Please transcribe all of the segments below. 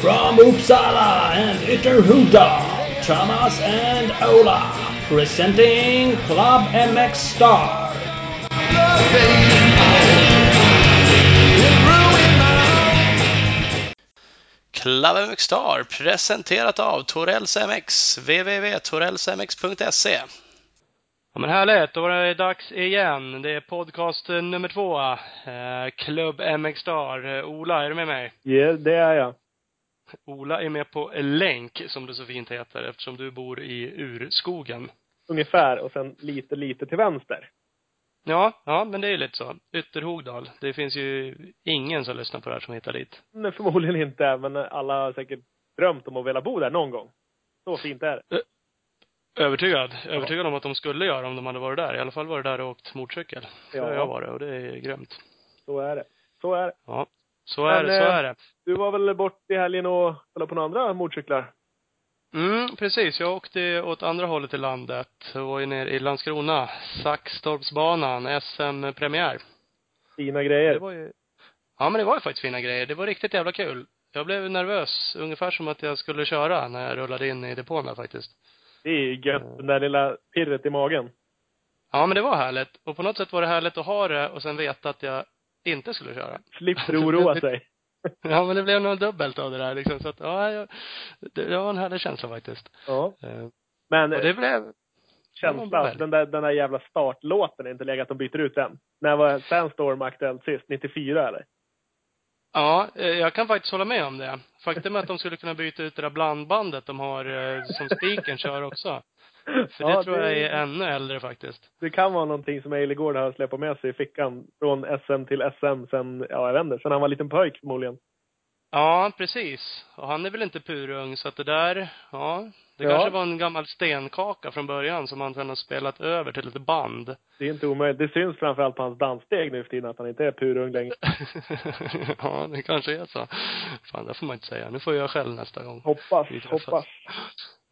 From Uppsala and Ytterhuda, Thomas and Ola, presenting Club MX Star. Club MX Star presenterat av Torells MX, www.torellsmx.se. Ja men härligt, då var det dags igen. Det är podcast eh, nummer två. Eh, Club MX Star. Eh, Ola, är du med mig? Ja, det är jag. Ola är med på länk, som det så fint heter, eftersom du bor i urskogen. Ungefär. Och sen lite, lite till vänster. Ja, ja, men det är ju lite så. Ytterhogdal. Det finns ju ingen som lyssnar på det här som hittar dit. Nej, Mm, förmodligen inte, men alla har säkert drömt om att vilja bo där någon gång. Så fint är det. Övertygad. Övertygad om att de skulle göra om de hade varit där. I alla fall var det där och åkt motorcykel. Ja. Ja. Jag var det och det är grymt. Så är det. Så är det. Ja. Så är Men, det, så eh, är det. Du var väl bort i helgen och kollade på några andra motorcyklar? Mm, precis. Jag åkte åt andra hållet i landet. Jag var ju nere i Landskrona, Saxtorpsbanan, SM-premiär. Eh. Fina Det grejer. var ju... Ja, men det var ju faktiskt fina grejer. Det var riktigt jävla kul. Jag blev nervös, ungefär som att jag skulle köra när jag rullade in i depån där faktiskt. Det är ju gött, det där lilla pirret i magen. Ja, men det var härligt. Och på något sätt var det härligt att ha det och sen veta att jag inte skulle köra. Slipper oroa sig. Ja, men det blev nog dubbelt av det där liksom. Så att, ja, jag, det, det var en härlig känsla faktiskt. Ja. Eh, Och Men det blev, känslan, den där, den där jävla startlåten är inte läge att de byter ut den. När var Sandstorm aktuellt sist? 94 eller? ja, eh, jag kan faktiskt hålla med om det. Faktum är att de skulle kunna byta ut det där blandbandet de har eh, som spiken kör också. För Ja, det tror jag det- är ännu äldre faktiskt. Det kan vara någonting som Ejlegård har släpat med sig i fickan från SM till SM sen, ja jag vet inte, sen han var en liten pojk förmodligen. Ja, precis. Och han är väl inte purung, så att det där, ja. Det Ja. kanske var en gammal stenkaka från början som han sedan har spelat över till ett band. Det är inte omöjligt. Det syns framförallt på hans danssteg nu för tiden att han inte är purung längre. ja, det kanske är så. Fan, det får man inte säga. Nu får jag själv nästa gång. Hoppas, Vi träffas. hoppas.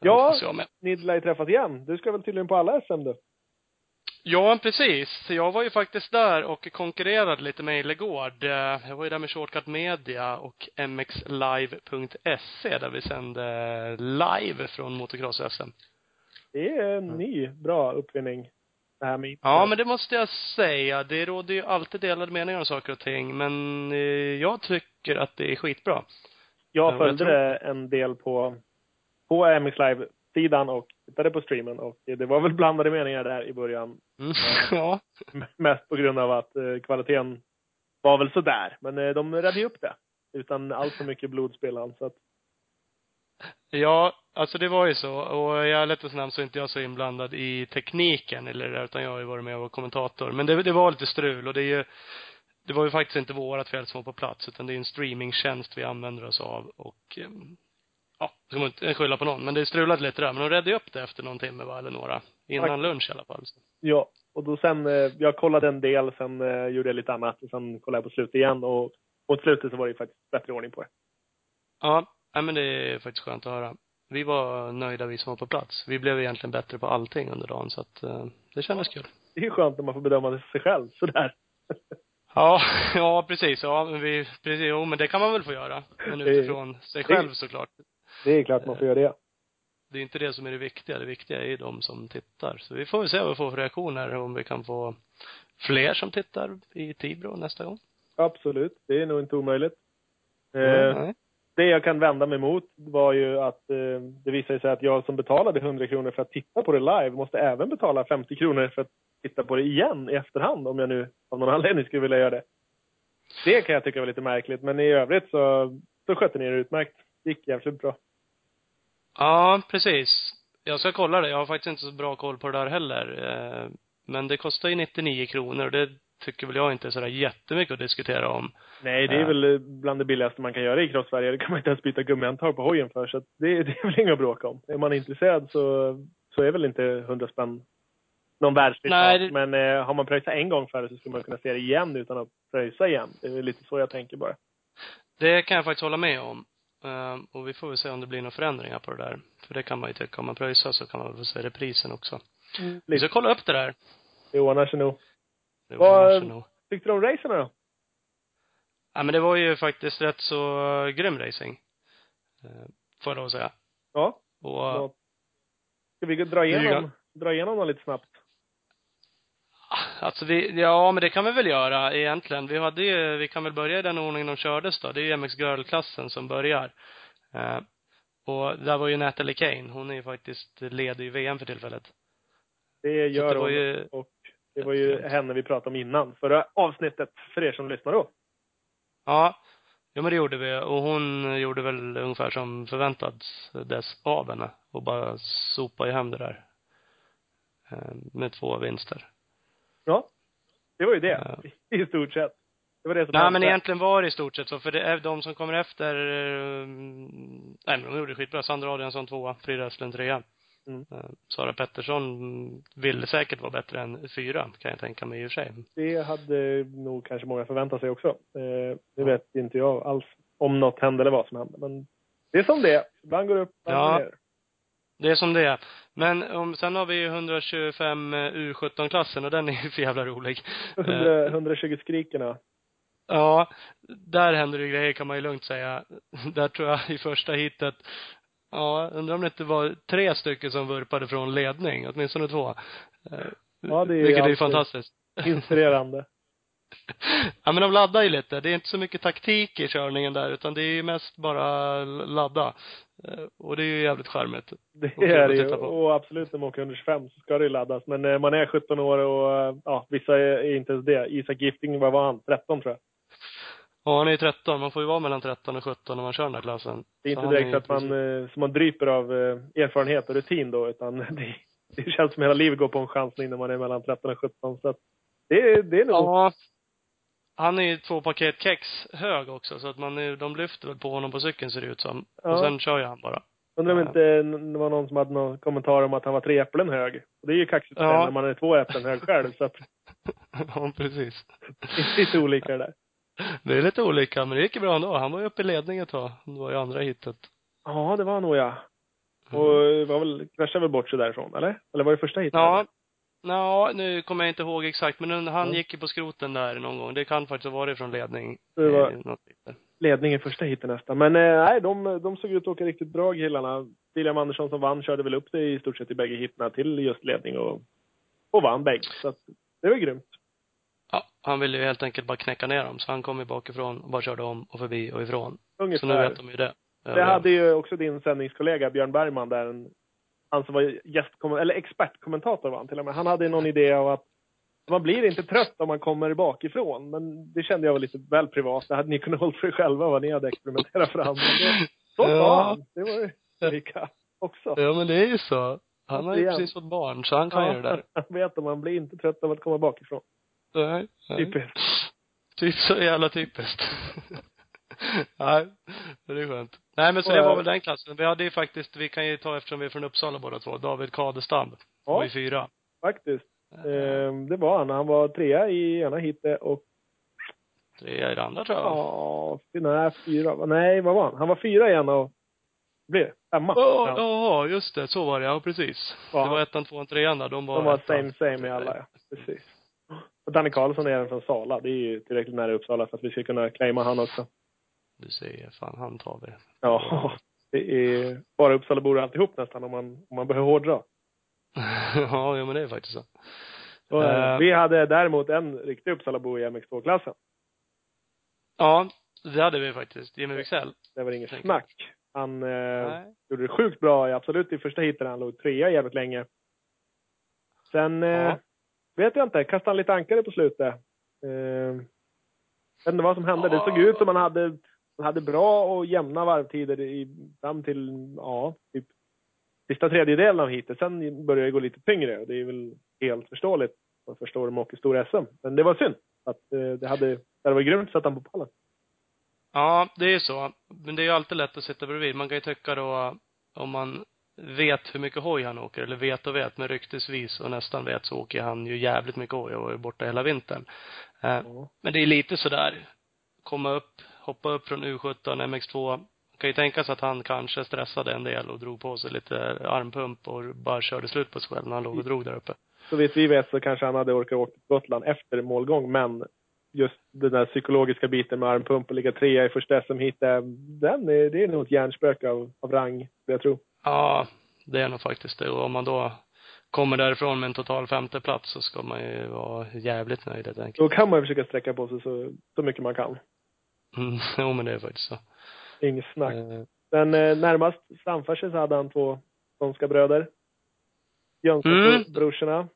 det Ja. får jag med. Ni lär ju träffas igen. Du ska väl tydligen på alla SM du? Ja, precis. Jag var ju faktiskt där och konkurrerade lite med Ilegård. Eh, Jag var ju där med Shortcut Media och mxlive.se E, där vi sände live från motocross-SM. Det är en ny bra uppfinning. Det här med Mm. Ja, men det måste jag säga. Det råder ju alltid delade meningar om saker och ting, men eh, jag tycker att det är skitbra. Jag Ja, följde jag tror- det en del på, på MX Live-sidan och tittade på streamen och det var väl blandade meningar där i början. Mm. Ja. Mest på grund av att eh, kvaliteten var väl sådär. Men eh, de räddade ju upp det. Utan allt för mycket blodspillan. Så att, Ja, alltså det var ju så. Och i ärlighetens namn så är inte jag så inblandad i tekniken eller det där, utan jag har ju varit med och varit kommentator. Men det, det var lite strul och det är ju, det var ju faktiskt inte vårat fel som var på plats, utan det är en streamingtjänst vi använder oss av och eh, ja, det ska man inte skylla på någon. Men det strulade lite där. Men de redde ju upp det efter någon timme va, eller några. Innan lunch i alla fall. ja. Och då sen, eh, jag kollade en del, sen eh, gjorde jag lite annat och sen kollade jag på slutet igen och mot slutet så var det ju faktiskt bättre ordning på det. Ja, nej, men det är faktiskt skönt att höra. Vi var nöjda vi som var på plats. Vi blev egentligen bättre på allting under dagen så att eh, det kändes kul. Det är ju skönt när man får bedöma sig själv sådär. Ja, ja precis. Ja, men vi, precis. Jo, men det kan man väl få göra. Men Eh, Det- utifrån sig själv såklart. Det är klart man får göra det. Det är inte det som är det viktiga. Det viktiga är ju de som tittar. Så vi får väl se vad vi får för reaktioner. Om vi kan få fler som tittar i Tibro nästa gång. Absolut. Det är nog inte omöjligt. Eh, Nej. det jag kan vända mig mot var ju att eh, det visade sig att jag som betalade 100 kronor för att titta på det live måste även betala 50 kronor för att titta på det igen i efterhand om jag nu av någon anledning skulle vilja göra det. Det kan jag tycka var lite märkligt men i övrigt så, så skötte ni er utmärkt. Det gick jävligt bra. Ja, precis. Jag ska kolla det. Jag har faktiskt inte så bra koll på det där heller. Eh, Men det kostar ju 99 kronor och det tycker väl jag inte är sådär jättemycket att diskutera om. Nej, det är Ja. väl eh, bland det billigaste man kan göra i cross-Sverige. Det kan man inte ens byta gummihandtag på hojen för så att det, det är väl inget att bråka om. Är man intresserad så, så är väl inte 100 spänn någon världslig Nej, sak. det- Men eh, har man pröjsat en gång för det så skulle man kunna se det igen utan att pröjsa igen. Det är lite så jag tänker bara. Det kan jag faktiskt hålla med om. Eh, Och vi får väl se om det blir några förändringar på det där. För det kan man ju tycka. Om man pröjsar så kan man väl få se reprisen också. Vi ska Lite. kolla upp det där. Det ordnar sig nog. Det Vad- ordnar sig nog. Tyckte du om racerna då? Ja, men det var ju faktiskt rätt så grym eh, racing. Eh, får jag lov att säga. Ja. Och, bra. Ska vi dra ju igenom, gan- dra igenom dem lite snabbt? Alltså vi, ja men det kan vi väl göra egentligen. Vi hade ju, vi kan väl börja i den ordningen de kördes då. Det är ju MX Girl-klassen som börjar. Eh, och där var ju Natalie Kane. Hon är ju faktiskt, leder ju VM för tillfället. Det Så gör det var hon. ju- Och det var ju henne vi pratade om innan förra avsnittet, för er som lyssnar då. Ja, ja men det gjorde vi. Och hon gjorde väl ungefär som förväntats dess av henne. Och bara sopade ju hem det där. Eh, med två vinster. Ja. Det var ju det, Ja. i stort sett. Det var det som Nej hände. men egentligen var det i stort sett så, för det är de som kommer efter, eh, nej men de gjorde skitbra. Sandra Adriansson tvåa, Frida Östlund trea. Mm. Eh, Sara Pettersson mm, ville säkert vara bättre än fyra, kan jag tänka mig i och för sig. Det hade nog kanske många förväntat sig också. Eh, det vet inte jag alls om något hände eller vad som hände. Men det är som det är. Ibland går det upp, ibland Ja. går det ner. Det är som det är. Men om, sen har vi ju 125 U17-klassen och den är ju för jävla rolig. Eh, 100, 120 skrikerna. Ja, där händer det ju grejer kan man ju lugnt säga. Där tror jag i första hitet, ja, undrar om det inte var tre stycken som vurpade från ledning, åtminstone två. Eh, Ja, det är ju Vilket är ju alltid- fantastiskt. Inspirerande. Ja, men de laddar ju lite. Det är inte så mycket taktik i körningen där, utan det är ju mest bara ladda. Eh, Och det är ju jävligt charmigt. Det Och kul är att det ju. titta på. Och absolut, när man åker 125 så ska det ju laddas. Men eh, man är 17 år och eh, ja, vissa är är inte ens det. Isak Gifting, vad var han? 13 tror jag. Ja, han är ju 13. Man får ju vara mellan 13 och 17 när man kör den här klassen. Det är Så inte han direkt ju att man, eh, som man dryper av eh, erfarenhet och rutin då, utan det, det känns som hela livet går på en chansning när man är mellan 13 och 17. Så att det, är- det är nog Ja. Han är ju två paket kex hög också, så att man är, de lyfter väl på honom på cykeln ser det ut som. Ja. Och sen kör ju han bara. Undrar om inte n- det var någon som hade någon kommentar om att han var tre äpplen hög. Och det är ju kaxigt att Ja. säga när man är två äpplen hög själv. Så att ja, precis. det är lite olika det där. Det är lite olika, men det gick ju bra ändå. Han var ju uppe i ledning ett tag. Det var ju andra hitet. Mm. Ja, det var nog ja. Och var väl, kraschade väl bort sig därifrån, eller? Eller var det första hit? Ja. Ja, nu kommer jag inte ihåg exakt, men den- han Mm. gick ju på skroten där någon gång. Det kan faktiskt vara från ledning. Det var- eh, något hit. Ledning i första hiten nästan. Men eh, nej, de, de såg ut att åka riktigt bra killarna. William Andersson som vann körde väl upp sig i stort sett i bägge hitterna till just ledning och, och vann bägge. Så att, det var grymt. Ja, han ville ju helt enkelt bara knäcka ner dem, så han kom ju bakifrån och bara körde om och förbi och ifrån. Så Ungefär. nu vet de ju det. Det hade ju också din sändningskollega Björn Bergman där, en, han som var gästkom- eller expertkommentator var han till och med. Han hade någon idé om att man blir inte trött om man kommer bakifrån. Men det kände jag var lite väl privat. Det hade ni kunnat hålla för er själva vad ni hade experimenterat fram. Men det- Så sa Ja. han. Det var ju olika också. Ja, men det är ju så. Han har ju Igen. precis fått barn, så han kan ju det där. Han vet att man blir inte trött av att komma bakifrån. Nej, nej. Typiskt. Typ så jävla typiskt. nej, men det är skönt. Nej, men så Och, det eh, var väl den klassen. Vi hade ju faktiskt, vi kan ju ta eftersom vi är från Uppsala båda två, David Kadestam. Ja. Var ju fyra. Faktiskt. Ehm, det var han. Han var trea i ena hitet och Trea i det andra tror jag. va? ja, nej, fyra. Nej, vad var han? Han var fyra i ena och blev det? femma. Ja, Ja. ja, just det. Så var det. Ja, precis. Ja. Det var ettan, tvåan, trean där. De var De var ettan. same same i alla, ja. Precis. Och Danne Karlsson är även från Sala. Det är ju tillräckligt nära Uppsala för att vi ska kunna claima han också. Du ser, fan han tar vi. Ja, det är bara Uppsalabor alltihop nästan om man, om man behöver hårdra. ja, ja, men det är faktiskt så. Och, eh, Eh. Vi hade däremot en riktig Uppsalabo i MX2-klassen. Ja, det hade vi faktiskt. Jimmy Wixell. Det var inget Tänker. snack. Han eh, Nej. gjorde det sjukt bra, i absolut i första heatet. Han låg trea jävligt länge. Sen eh, Ja. vet jag inte, kastade han lite ankare på slutet. Eh, vet inte vad som hände. Det såg ut som han hade, han hade bra och jämna varvtider i, fram till, ja, typ sista tredjedelen av heatet. Sen började det gå lite tyngre och det är väl helt förståeligt. Man förstår om man åker stor SM. Men det var synd. Att, eh, det, hade, det var grymt att sätta han på pallen. Ja, det är ju så. Men det är ju alltid lätt att sitta bredvid. Man kan ju tycka då, om man vet hur mycket hoj han åker, eller vet och vet, men ryktesvis och nästan vet så åker han ju jävligt mycket hoj och är borta hela vintern. Eh, Ja. Men det är lite sådär, komma upp, hoppa upp från U17, MX2. Man kan ju tänka sig att han kanske stressade en del och drog på sig lite armpump och bara körde slut på sig själv när han låg och drog där uppe. Så vitt vi vet så kanske han hade orkat åka till Gotland efter målgång, men just den där psykologiska biten med armpump och ligga trea i första SM-hit, den är, det är nog ett hjärnspöke av, av rang, jag tror. Ja, det är nog faktiskt det. Och om man då kommer därifrån med en total femte plats så ska man ju vara jävligt nöjd helt enkelt. Då kan man ju försöka sträcka på sig så, så mycket man kan. Mm, jo men det är faktiskt så. Inget snack. Eh, Men eh, närmast framför sig så hade han två skånska bröder. Mm. Jönssonbrorsorna.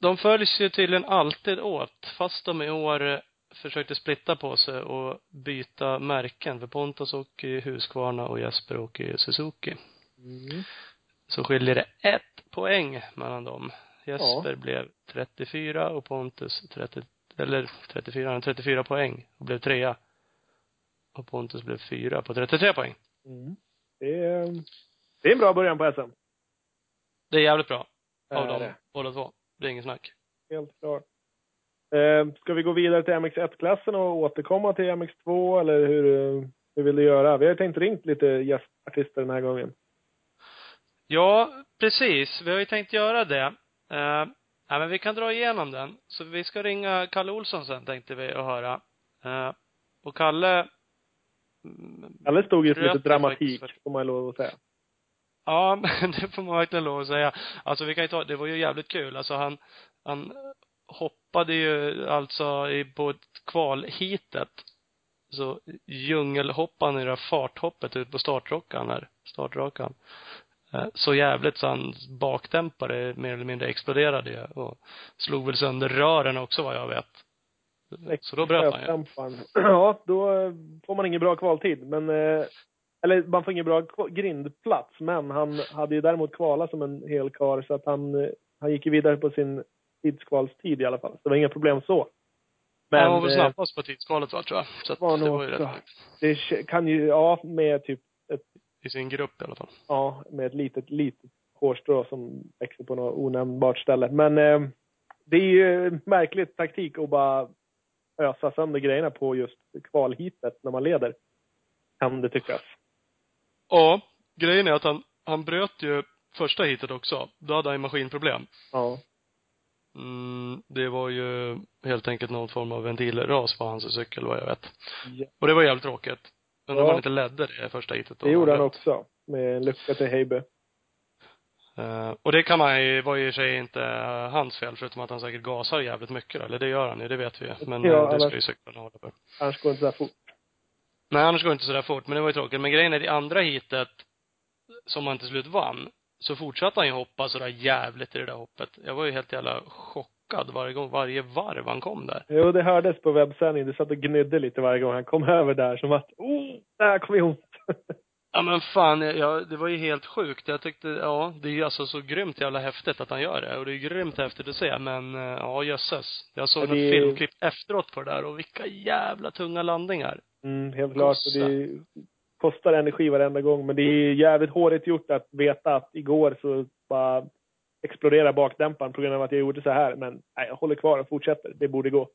De följs ju tydligen alltid åt, fast de i år eh, försökte splitta på sig och byta märken. För Pontus och Husqvarna och Jesper och Suzuki. Mm. Så skiljer det ett poäng mellan dem. Jesper blev 34 och Pontus 30, eller 34, han 34 poäng och blev trea. Och Pontus blev fyra på 33 poäng. Mm. Det, är, det är en bra början på SM. Det är jävligt bra Är av dem det. båda två. Det är inget snack. Helt klart. Eh, ska vi gå vidare till MX1-klassen och återkomma till MX2 eller hur, eh, hur vill du göra? Vi har ju tänkt ringt lite gästartister den här gången. Ja, precis. Vi har ju tänkt göra det. Eh, ja, men vi kan dra igenom den. Så vi ska ringa Kalle Olsson sen tänkte vi och höra. Eh, och Kalle mm, Alla stod ju för Röt lite är dramatik, faktiskt- får man lov att säga. Ja, men det får man verkligen lov att säga. Alltså vi kan ju ta, det var ju jävligt kul. Alltså han, han hoppade ju alltså i, på ett kvalhitet. Så djungelhoppade han i det där farthoppet ut på startrakan här, startrakan. Eh, Så jävligt så hans bakdämpare mer eller mindre exploderade ju och slog väl sönder rören också vad jag vet. Så då bröt han ju. Rötdämparen. Ja, då eh, får man ingen bra kvaltid. Men, eh, eller man får ingen bra kva- grindplats, men han hade ju däremot kvalat som en hel kar så att han, eh, han gick ju vidare på sin tidskvalstid i alla fall. Så det var inga problem så. Men han var väl eh, snabbast på tidskvalet va, tror jag. Så att var det nog var ju rätt också. sjukt. eh, det k- kan ju, ja, med typ, I sin grupp i alla fall. ja, med ett litet, litet hårstrå som växer på något onämnbart ställe. Men eh, det är ju en märklig taktik att bara ösa sönder grejerna på just kvalhitet när man leder. Kan det tyckas. Ja, grejen är att han, han bröt ju första hitet också. Då hade han ju maskinproblem. Ja. Mm, det var ju helt enkelt någon form av ventilras på hans cykel vad jag vet. Ja. Och det var jävligt tråkigt. Undrar om Ja. han inte ledde det första hitet då. Det gjorde han bröt. också. Med en lucka till Heibe. Eh, och det kan man ju, var ju i sig inte eh, hans fel förutom att han säkert gasar jävligt mycket då. Eller det gör han ju, det vet vi ju. Men Ja, eh, det annars- ska ju cykeln hålla för. Annars går det inte så här fort. Nej, annars går det inte sådär fort. Men det var ju tråkigt. Men grejen är, det andra heatet som han till slut vann, så fortsatte han ju hoppa sådär jävligt i det där hoppet. Jag var ju helt jävla chockad varje gång, varje varv han kom där. Jo, det hördes på webbsändning. Du satt och gnydde lite varje gång han kom över där. Som att, oh, där kom jag ont. Ja men fan, jag, jag, det var ju helt sjukt. Jag tyckte, ja, det är ju alltså så grymt jävla häftigt att han gör det. Och det är grymt häftigt att se, men eh, ja jösses. Jag såg Ja, något det är- filmklipp efteråt på det där och vilka jävla tunga landningar. Mm, helt klart. Kossa. Och det kostar energi varenda gång. Men det är jävligt hårigt gjort att veta att igår så bara exploderar bakdämparen på grund av att jag gjorde så här. Men nej, jag håller kvar och fortsätter. Det borde gå.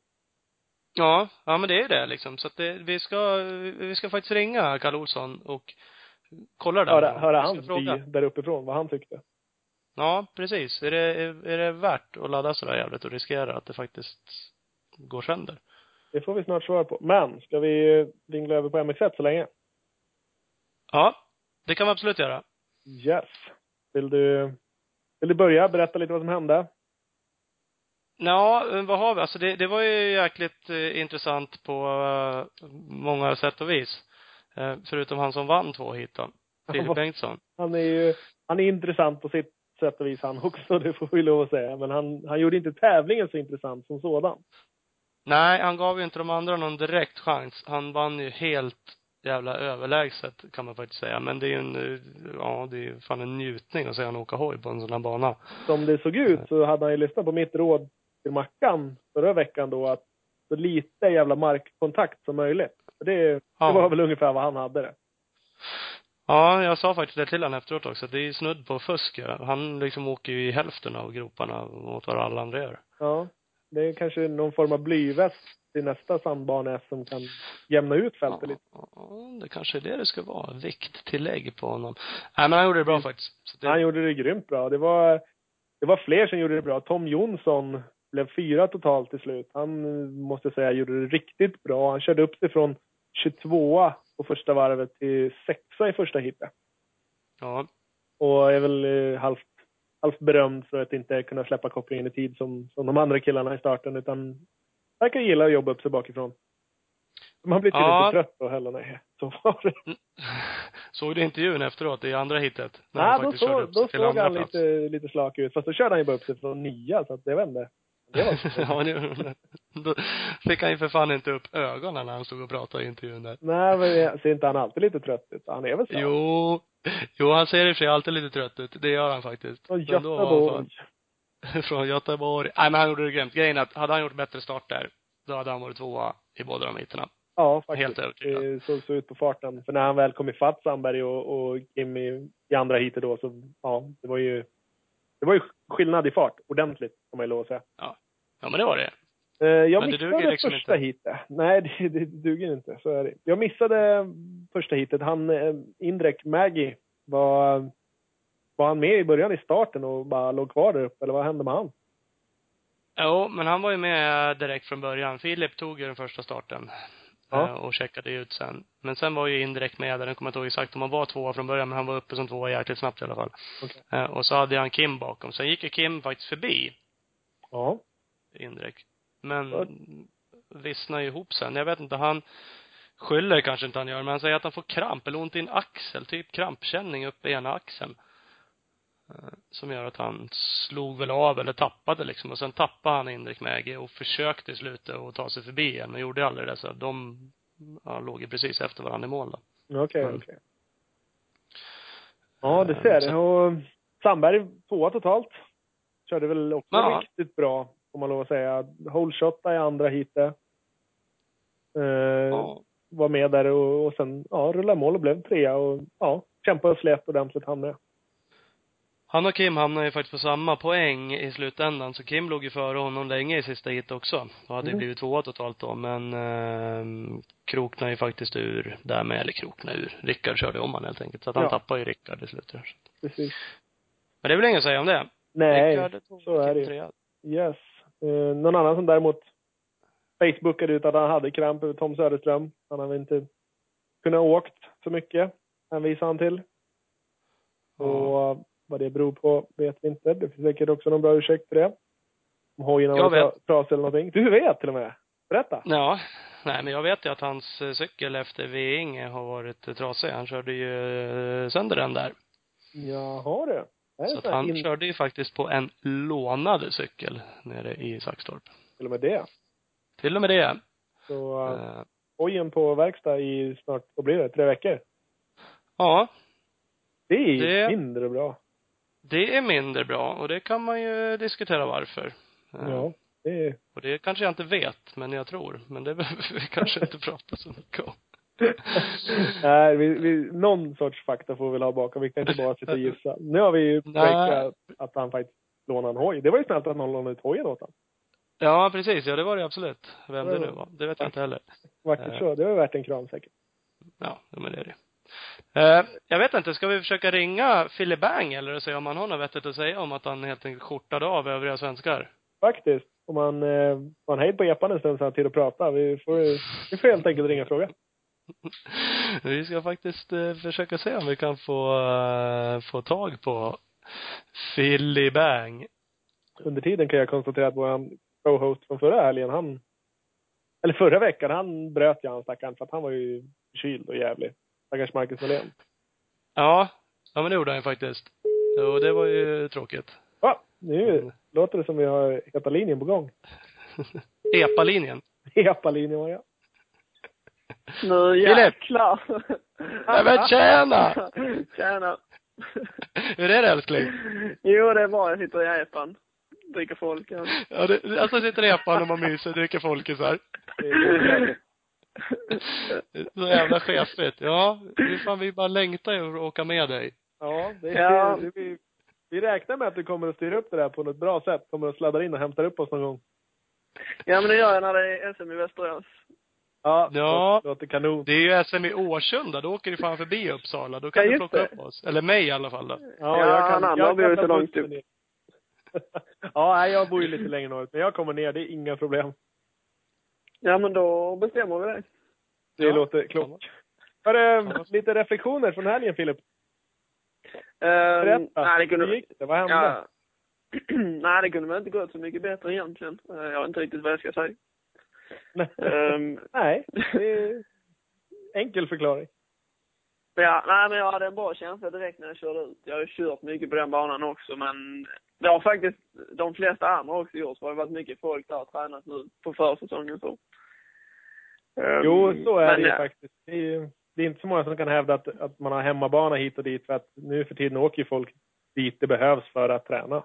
Ja, ja men det är ju det liksom. Så att det, vi ska, vi ska faktiskt ringa Kalle Olsson och kolla det där. Höra, höra Vi ska hans fråga. by där uppifrån, vad han tyckte. Ja, precis. Är det, är, är det värt att ladda sådär jävligt och riskera att det faktiskt går sönder? Det får vi snart svar på. Men, ska vi vingla över på MX1 så länge? Ja, det kan vi absolut göra. Yes. Vill du, vill du börja berätta lite vad som hände? Ja, eh, vad har vi? Alltså det, det var ju jäkligt eh, intressant på eh, många sätt och vis. Eh, förutom han som vann två hit då, Filip Bengtsson. Han är ju han är intressant på sitt sätt och vis han också, det får vi lov att säga. Men han, han gjorde inte tävlingen så intressant som sådan. Nej, han gav ju inte de andra någon direkt chans. Han vann ju helt jävla överlägset kan man faktiskt säga. Men det är ju en, eh, ja det är ju fan en njutning att se han åka hoj på en sån här bana. Som det såg ut så hade han ju lyssnat på mitt råd till Mackan förra veckan då att så lite jävla markkontakt som möjligt. Och Det, Ja. det var väl ungefär vad han hade det. Ja, jag sa faktiskt det till honom efteråt också. Det är ju snudd på fusk ju. Han liksom åker ju i hälften av groparna mot vad alla andra gör. Ja. Det är kanske någon form av blyväst i nästa sandbane som kan jämna ut fältet lite. Ja, det kanske är det det ska vara. Vikttillägg på honom. Nej, men han gjorde det Mm. bra faktiskt. Så det, Han gjorde det grymt bra. Det var, det var fler som gjorde det bra. Tom Jonsson blev fyra totalt till slut. Han eh, måste jag säga gjorde det riktigt bra. Han körde upp sig från 22 på första varvet till sexa i första hitet. Ja. Och är väl eh, halvt, halvt berömd för att inte kunna släppa kopplingen i tid som, som de andra killarna i starten utan verkar gilla att jobba upp sig bakifrån. Man blir tydligen Ja. inte trött då heller, nej. Så var det. Såg du intervjun efteråt i andra hitet? När Nej, han då, faktiskt körde såg upp sig då till såg andra han plats. lite, lite slak ut. Fast då körde han ju bara upp sig från nia, så att det vände. Det ja, var det, då fick han ju för fan inte upp ögonen när han stod och pratade i intervjun där. Nej, men jag ser inte han alltid lite trött ut? Han är väl så? Jo, jo han ser i och för sig alltid lite trött ut. Det gör han faktiskt. Från Men då var han Göteborg. fan- Från Göteborg. Nej, men han gjorde det grymt. Grejen är att hade han gjort bättre start där, då hade han varit tvåa i båda de hitterna. Ja, faktiskt. Helt övertygad. Det såg Eh, så ut på farten. För när han väl kom ifatt Sandberg och, och Kim i, i andra heatet då, så ja, det var ju det var ju skillnad i fart, ordentligt, kan man ju lov att säga. Ja, men det var det. Eh, Jag Men det missade duger liksom första inte. heatet. Nej, det, det duger inte. Så är det. Jag missade första heatet. Han, eh, Indrek Maggi, var, var han med i början i starten och bara låg kvar där uppe, eller vad hände med han? Jo, men han var ju med direkt från början. Filip tog ju den första starten. Ja. eh, Och checkade ut sen. Men sen var ju indirekt med där, den kommer jag inte ihåg exakt om han var tvåa från början, men han var uppe som tvåa jäkligt snabbt i alla fall. Okej. Eh, Och så hade han Kim bakom. Sen gick ju Kim faktiskt förbi Ja. indirekt. Men Ja. vissnar ju ihop sen. Jag vet inte, han skyller kanske inte han gör, men han säger att han får kramp eller ont i en axel, typ krampkänning uppe i ena axeln. Eh, Som gör att han slog väl av eller tappade liksom och sen tappade han Indrek Mägi och försökte i slutet att ta sig förbi igen men gjorde aldrig det så de ja, låg ju precis efter varandra i mål då. Okej, okej. Mm. Ja, det Eh, ser det. Och Sandberg tvåa totalt. Körde väl också Ja. riktigt bra, får man lov att säga. Holeshotta i andra heatet. Eh, Ja. Var med där och, och sen ja, rullade mål och blev trea. Och, ja, kämpade och slet ordentligt han med. Han och Kim hamnade ju faktiskt på samma poäng i slutändan, så Kim låg ju före honom länge i sista hit också. Och hade ju Mm. blivit tvåa totalt då, men eh, kroknade ju faktiskt ur där med, eller kroknade ur. Rickard körde om han helt enkelt, så att han Ja. tappade ju Rickard i slutet. Precis. Men det är väl inget att säga om det. Nej, Rickard, två, så är Kim det ju. trea. yes. Eh, någon annan som däremot facebookade ut att han hade kramp över Tom Söderström. Han hade väl inte kunnat åkt så mycket, hänvisar han till. Ja. Och eh, vad det beror på vet vi inte. Det finns säkert också någon bra ursäkt för det. Om hojen har Jag varit tra- trasig eller någonting. Du vet till och med! Berätta! Ja. Nej, men jag vet ju att hans eh, cykel efter Veinge har varit eh, trasig. Han körde ju eh, sönder den där. Jaha du. Det här är Så att sån här han in- körde ju faktiskt på en lånad cykel nere i Saxtorp. till och med det. Till och med det. Så uh, Eh, hojen på verkstad i snart, vad blir det, tre veckor? Ja, Det är Det- mindre bra. det är mindre bra och det kan man ju diskutera varför. Eh, Ja. Det är... Och det kanske jag inte vet, men jag tror. Men det behöver vi kanske inte prata så mycket om. Nej, vi, vi, någon sorts fakta får vi väl ha bakom. Vi kan inte bara sitta och gissa. Nu har vi ju Nej. breakat att han faktiskt lånade en hoj. Det var ju snällt att någon lånade ut hojen åt honom. Ja, precis. Ja, det var det absolut. Vem det Ja. nu var. Det vet jag inte heller. Vackert Ja. så. Det var värt en kram säkert. Ja, ja, men det är det. Eh, jag vet inte, ska vi försöka ringa Philip Bang eller och se om han har något vettigt att säga om att han helt enkelt skjortade av övriga svenskar? Faktiskt. Om man, eh, man hejd på epan en stund så har han tid att prata. Vi får, vi får helt enkelt ringa och fråga. Vi ska faktiskt eh, försöka se om vi kan få, eh, få tag på Philly Bang. Under tiden kan jag konstatera att vår co-host från förra helgen, han... Eller förra veckan, han bröt jag han stackaren för att han var ju kyld och jävlig. Stackars Marcus Norlén. Ja, ja men det gjorde han ju faktiskt. Och det var ju tråkigt. Va? Mm. Nu låter det som vi har heta linjen på gång. Epa-linjen. Epa-linjen var det. Nu jäklar. Nej men tjena! Tjena. Hur är det älskling? Jo, det är bra. Jag sitter i epan. Dricker folk. ja. Ja, det, alltså sitter i epan och man myser och dricker folkisar. Det är- Så jävla chefigt. Ja, vi fan vi bara längtar ju att åka med dig. Ja, det är, Ja. Det, vi, vi räknar med att du kommer att styra upp det där på något bra sätt. Kommer att sladda in och hämta upp oss någon gång. Ja, men det gör jag när det är SM i Västerås. Ja, Ja. låter- låter kanon. Det är ju SM i Årsunda, då åker du fan förbi Uppsala. Då kan Ja, du just plocka det. upp oss. Eller mig i alla fall då. Ja, han andra bor ju ta så långt bussen upp. ner. Ja, nej, jag bor ju lite längre norrut, men jag kommer ner. Det är inga problem. Ja, men då bestämmer vi det. Det Ja. låter klokt. Hörru, lite reflektioner från helgen, Filip. Ehm, Berätta. Mm, nej, det kunde... Hur gick det? Vad hände? Ja. nej, det kunde väl inte gått så mycket bättre egentligen. Eh, jag vet inte riktigt vad jag ska säga. Ehm, Nej, det är enkel förklaring. men ja, nej, men jag hade en bra känsla direkt när jag körde ut. Jag har ju kört mycket på den banan också, men det har faktiskt de flesta andra också gjort. för Det har varit mycket folk där och tränat nu på försäsongen. Så. Ehm, Jo, så är men, det ju ja. faktiskt. Det är, ju, det är inte så många som kan hävda att, att man har hemmabana hit och dit för att nu för tiden åker ju folk dit det behövs för att träna.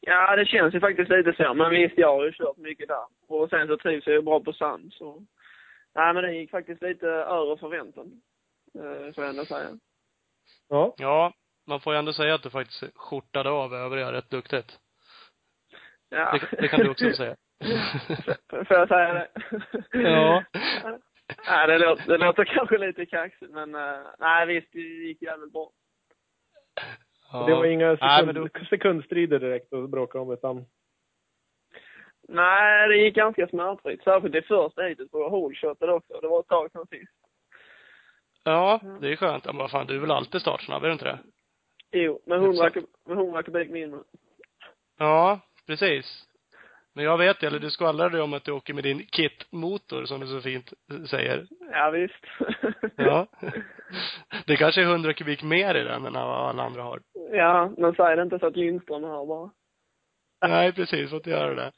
Ja, det känns ju faktiskt lite så. Men visst, jag har ju kört mycket där. Och sen så trivs jag ju bra på sand. Så... Nej, men det gick faktiskt lite över förväntan. eh, Får jag ändå säga. Ja, Ja, man får ju ändå säga att du faktiskt skjortade av övriga rätt duktigt. Ja. Det, det kan du också säga. Får jag säga det? ja. Nej, det låter, det låter kanske lite kaxigt, men eh, nej, visst, det gick jävligt bra. ja. det var inga Nej, sekund, men du, sekundstrider direkt att bråka om utan Nej, det gick ganska smärtfritt. Särskilt det första heatet på holeshotet också. Det var ett tag sedan sist. ja, det är skönt. Ja, men vad fan, du är väl alltid startsnabb, är du inte det? Jo, med 100, kub- med 100 kubik mindre. Ja, precis. Men jag vet ju, eller du skvallrade ju om att du åker med din kit-motor, som du så fint säger. Ja, visst. Ja. Det kanske är 100 kubik mer i den än vad alla andra har. ja, men säg det inte så att Lindström hör bara. Nej, precis. Får inte göra det.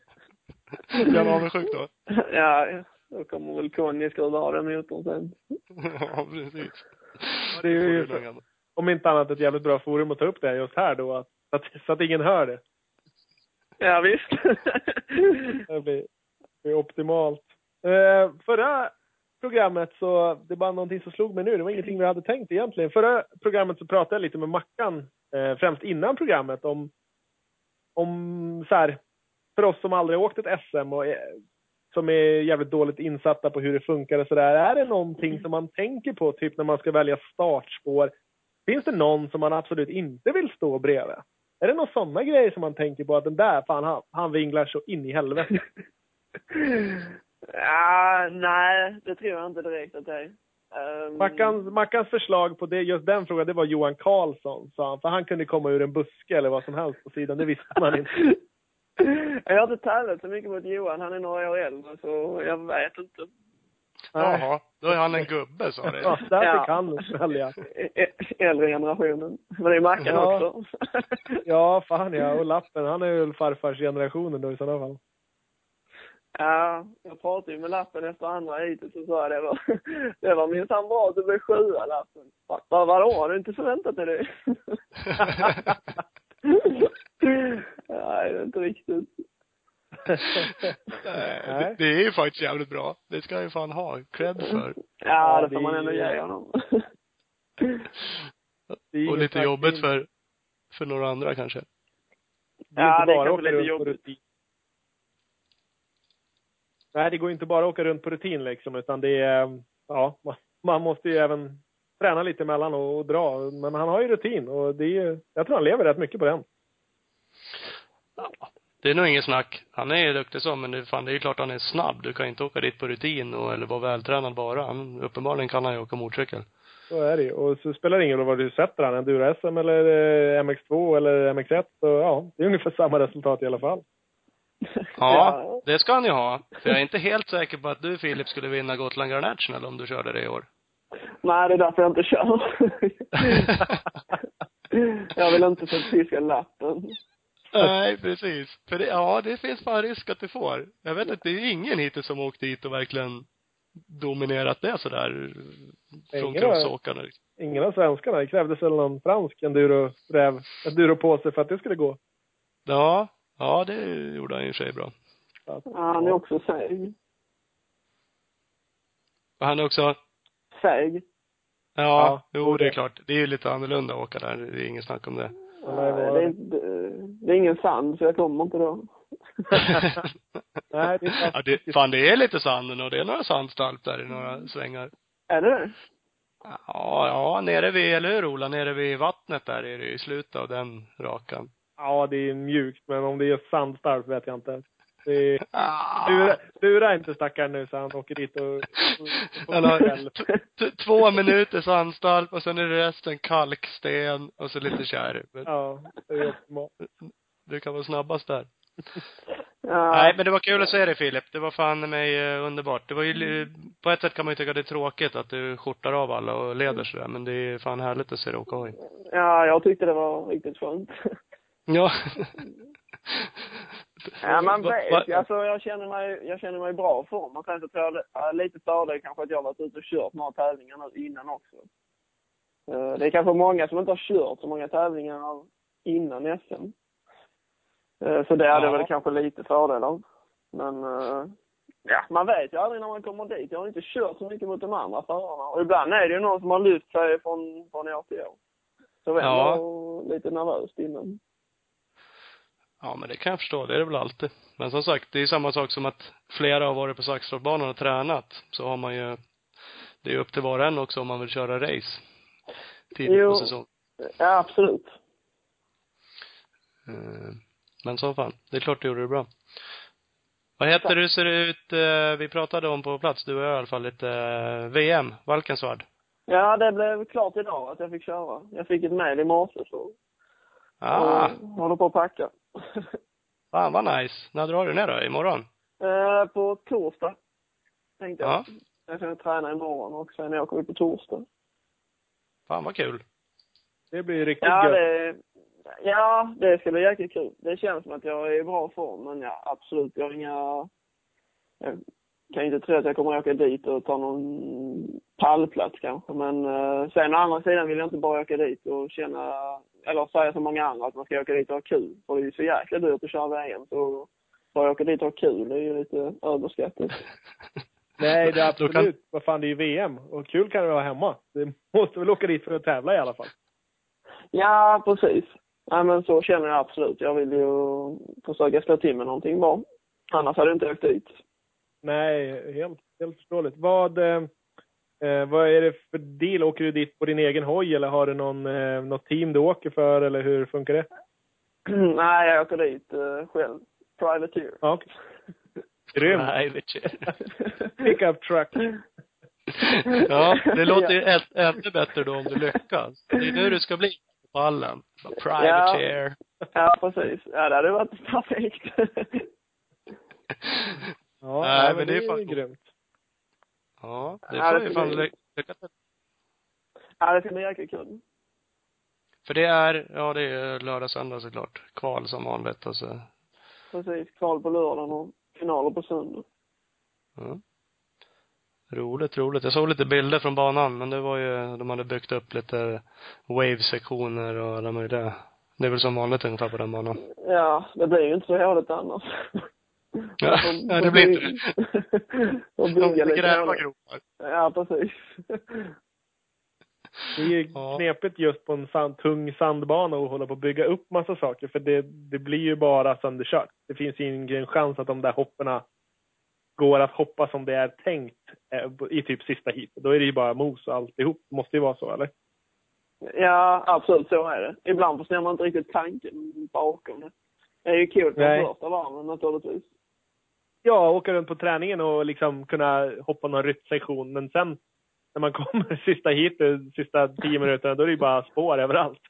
Jag var avundsjuk då. Ja, ja. då kommer väl Conny skruva av den motorn sen. Ja, precis. Det är ju- Får du någon- om inte annat ett jävligt bra forum att ta upp det här just här då. Att, så, att, så att ingen hör det. Ja, visst. Det blir, det blir optimalt. Eh, förra programmet så, det är bara någonting som slog mig nu. Det var ingenting vi hade tänkt egentligen. Förra programmet så pratade jag lite med Mackan, eh, främst innan programmet, om, om så här, för oss som aldrig har åkt ett SM och eh, som är jävligt dåligt insatta på hur det funkar och sådär. Är det någonting som man tänker på, typ när man ska välja startspår? Finns det någon som man absolut inte vill stå bredvid? Är det några sådana grejer som man tänker på att den där, fan han, han vinglar så in i helvete? ja, nej, det tror jag inte direkt att det är. Ehm, Mackans, Mackans förslag på det, just den frågan, det var Johan Karlsson, sa han. För han kunde komma ur en buske eller vad som helst på sidan, det visste man inte. Jag har inte tävlat så mycket mot Johan. Han är några år äldre, så jag vet inte. Nej. Jaha, då är han en gubbe, sa du. Ja, där Ja. fick han välja. Ä- ä- Äldre generationen. Men det är Mackan Ja. också. Ja, fan ja. Och Lappen, han är väl farfarsgenerationen då i sådana fall. Ja, jag pratade ju med Lappen efter andra heatet så sa jag det var, det var minsann bra att du blev sjua Lappen. Va- va- Vadå, har du inte förväntat dig det? Nej, det är inte riktigt. Nej, det- Det är ju faktiskt jävligt bra. Det ska jag ju fan ha cred för. Ja, Ja, det det får man ändå är- ge honom. Det är ingen Och lite snack. jobbigt för, för några andra kanske. Det är Ja, inte det är bara att kanske åka lite runt på jobbigt. rutin. Nej, det går inte bara att åka runt på rutin liksom, utan det är, ja, man- man måste ju även träna lite emellan och, och dra. Men han har ju rutin och det är ju, jag tror han lever rätt mycket på den. Det är nog inget snack. Han är ju duktig som, men det, fan, det är ju klart han är snabb. Du kan ju inte åka dit på rutin och, eller vara vältränad bara. Han, uppenbarligen kan han ju åka motorcykel. Så är det ju. Och så spelar det ingen roll vad du sätter han, Enduro-SM eller eh, MX2 eller MX1. Så ja, det är ungefär samma resultat i alla fall. Ja, det ska han ju ha. För jag är inte helt säker på att du Filip skulle vinna Gotland Grand National om du körde det i år. Nej, det är därför jag inte kör. jag vill inte förfiska Lappen. Nej, precis. För det, ja, det finns fan risk att du får. Jag vet att det är ingen hittills som åkt dit och verkligen dominerat det sådär. Från Ingen. crossåkarna. Ingen av svenskarna. Det krävdes väl någon fransk enduro-räv, enduro-påse för att det skulle gå. Ja, ja det gjorde han i och för sig bra. Så att, Ja, han är också seg. Och han också, Seg. Ja, Ja, jo det är klart. Det är ju lite annorlunda att åka där. Det är inget snack om det. han har ju Nej, varit- det, är, inte- det är ingen sand, så jag kommer inte då. Nej, det är ja, det, fan det är lite sanden och det är några sandstalp där i några svängar. Är det det? Ja, ja, nere vid, eller hur Ola, nere vid vattnet där är det ju i slutet av den rakan. Ja, det är mjukt, men om det är sandstarkt vet jag inte. Det är... Ah. Sura, sura inte stackaren nu så han åker dit och... och, Mm. och, Han och, har t- t- två minuters anstalp och sen är det resten kalksten och så lite kärv. Men ja, det är optimalt. Du kan vara snabbast där. Ja. Nej, men det var kul att se dig Filip. Det var fan i mig eh, underbart. Det var ju, li- på ett sätt kan man ju tycka det är tråkigt att du skjortar av alla och Mm. leder sådär, men det är fan härligt att se dig åka hoj. ja, jag tyckte det var riktigt skönt. Ja. Ja, man Va- vet va- ju. Alltså, jag känner mig, jag känner mig i bra form. Och sen så tror jag ja, lite fördel kanske att jag varit ute och kört några tävlingar nu innan också. Eh, Det är kanske många som inte har kört så många tävlingar innan SM. Eh, Så det Ja. hade jag väl kanske lite fördel av. Men eh, ja, man vet ju aldrig när man kommer dit. Jag har inte kört så mycket mot de andra förarna. Och ibland är det ju någon som har lyft sig från, från år till år. Så jag Ja. var lite nervöst innan. Ja, men det kan jag förstå. Det är det väl alltid. Men som sagt, det är ju samma sak som att flera har varit på Saxtorpsbanan och tränat. Så har man ju, det är ju upp till var och en också om man vill köra race. Tidigt Jo. på säsong. Ja, absolut. Eh, Men som fan, det är klart du gjorde det bra. Vad heter du ser det ut, eh, vi pratade om på plats, du och jag i alla fall, lite eh, VM, Valkensvard. Ja, det blev klart idag att jag fick köra. Jag fick ett mejl i morse så Ah, och håller på att packa. fan vad nice. När drar du ner då? Imorgon? Eh, på torsdag tänkte jag. Ja. Jag ska träna imorgon och sen åker vi på torsdag. Fan vad kul. Det blir riktigt Ja, gött. det, ja, det ska bli jäkligt kul. Det känns som att jag är i bra form, men ja, absolut. Jag har inga... Jag kan inte tro att jag kommer åka dit och ta någon pallplats kanske, men eh, sen å andra sidan vill jag inte bara åka dit och känna, eller säga som många andra att man ska åka dit och ha kul. För det är ju så jäkla dyrt att köra VM, så bara åka dit och ha kul det är ju lite överskattat. Nej, det är Då absolut. kan- Vad fan, det är ju VM. Och kul kan det vara hemma. Du måste väl åka dit för att tävla i alla fall. Ja, precis. Nej, men så känner jag absolut. Jag vill ju försöka slå till med någonting bra. Annars hade jag inte åkt dit. Nej, helt, helt förståeligt. Vad, eh, eh, vad är det för deal? Åker du dit på din egen hoj eller har du någon, eh, något team du åker för eller hur funkar det? Nej, jag åker dit eh, själv. Privateer. Ja, okej. Grymt. Nej, vet jag. Pickup truck. Ja, det låter ju ä- ännu bättre då om du lyckas. Det är nu du ska bli på pallen. Privateer. ja, precis. Ja, det hade varit perfekt. Ja, Nej, men det är ju fan- grymt. Ja, det Ja, får det vi ska fan bli- ly- lycka till. ja, det ska bli jäkligt kul. För det är, ja det är lördag, söndag såklart. Kval som vanligt och så. Precis. Kval på lördagen och finaler på söndag. Ja. Roligt, roligt. Jag såg lite bilder från banan, men det var ju, de hade byggt upp lite wave-sektioner och alla möjliga. Det är väl som vanligt ungefär på den banan. Ja, det blir ju inte så håligt annars. Ja, nej, det blir inte det. Och De bygga får lite. gräva hål. gropar. Ja, precis. Det är ju Ja. knepigt just på en sand, tung sandbana att hålla på att bygga upp massa saker för det, det blir ju bara sönderkört. Det finns ju ingen chans att de där hopporna går att hoppa som det är tänkt eh, i typ sista hit. Då är det ju bara mos och alltihop. Det måste ju vara så, eller? Ja, absolut så är det. Ibland förstår man inte riktigt tanken bakom det. Det är ju kul på Nej. första varven naturligtvis. Ja, åka runt på träningen och liksom kunna hoppa någon ryttsektion. Men sen när man kommer sista hit, de sista tio minuterna, då är det ju bara spår överallt.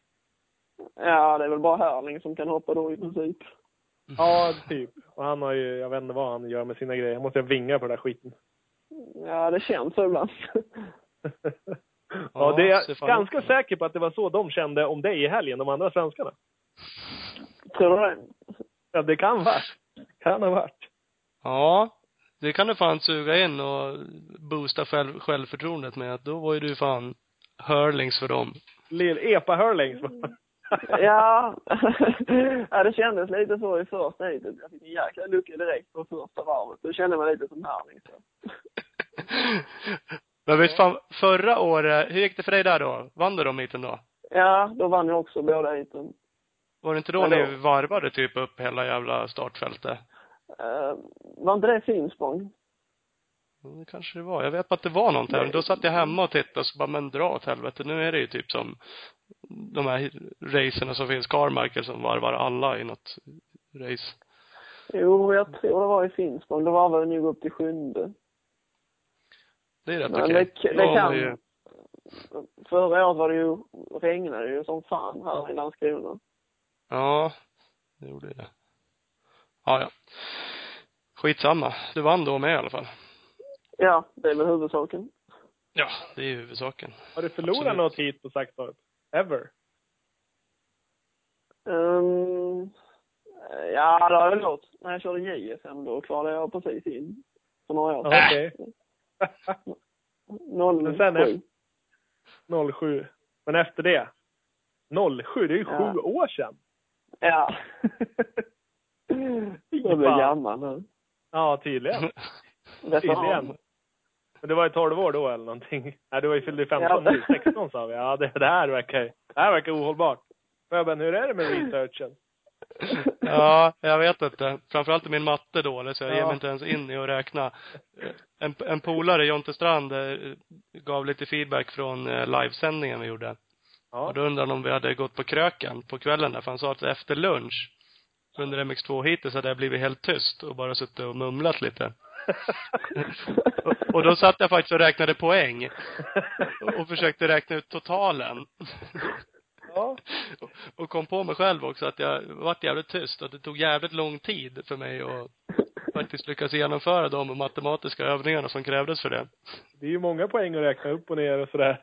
Ja, det är väl bara Härling som kan hoppa då i princip. Ja, typ. Och han har ju, jag vet inte vad han gör med sina grejer. Han måste ju vinga på den där skiten. Ja, det känns så ibland. Ja, det är ser jag fan ganska ut. säker på att det var så de kände om dig i helgen, de andra svenskarna. Tror du det? Ja, det kan vara. Kan ha varit. Ja, det kan du fan suga in och boosta själv, självförtroendet med att då var ju du fan hurlings för dem. Lill Epa Hurlings. Ja. ja, det kändes lite så i första heatet. Jag fick en jäkla lucka direkt på första varvet. Då kände man lite som liksom. Härling. Så. Men vet fan, förra året, hur gick det för dig där då? Vann du de heaten då? Ja, då vann jag också båda heaten. Var det inte då Ja, det ni varvade typ Ehm, upp hela jävla startfältet? Eh, var inte det Finspång? Jo, Mm, Det kanske det var. Jag vet bara att det var någon tävling. Då satt jag hemma och tittade och så bara, men dra åt helvete. Nu är det ju typ som de här racerna som finns, Carmichael som varvar alla i något race. Jo, jag tror det var i Finspång. Då var vi nog upp till sjunde. Det är rätt Men okej. det, det Ja, men kan... ju- Förra året var det ju, regnade det ju som fan här i Landskrona. Ja, det gjorde det. Ja, ja. Skitsamma. Du vann då med i alla fall. Ja, det är väl huvudsaken. Ja, det är ju huvudsaken. Har du förlorat Absolut. något hit på Saxtorp? Ever? Um, ja, det har jag väl gjort. När jag körde JSM då kvalade jag precis in. För några år Ja, sedan. Okej. Men sen 07. efter- 07. Men efter det? 07? Det är ju Ja. sju år sedan. Ja. jag blir Fan. gammal nu. Ja, tydligen. Det sa han. Tydligen. Men du var ju 12 år då eller någonting? Nej, du var ju fyllde ju 15 Ja. nu. 16 sa vi. Ja, det, det här verkar ju- det här verkar ohållbart. Föben, hur är det med researchen? Ja, jag vet inte. Framförallt är min matte dålig så jag ger Ja. mig inte ens in i att räkna. En, en polare, Jonte Strand, eh, gav lite feedback från eh, livesändningen vi gjorde. Ja. Och då undrade han om vi hade gått på kröken på kvällen där, för han sa att efter lunch under MX2 hittills hade jag blivit helt tyst och bara suttit och mumlat lite. Och, och då satt jag faktiskt och räknade poäng och försökte räkna ut totalen. ja. Och- Och kom på mig själv också att jag vart jävligt tyst och att det tog jävligt lång tid för mig att faktiskt lyckas genomföra de matematiska övningarna som krävdes för det. Det är ju många poäng att räkna upp och ner och sådär.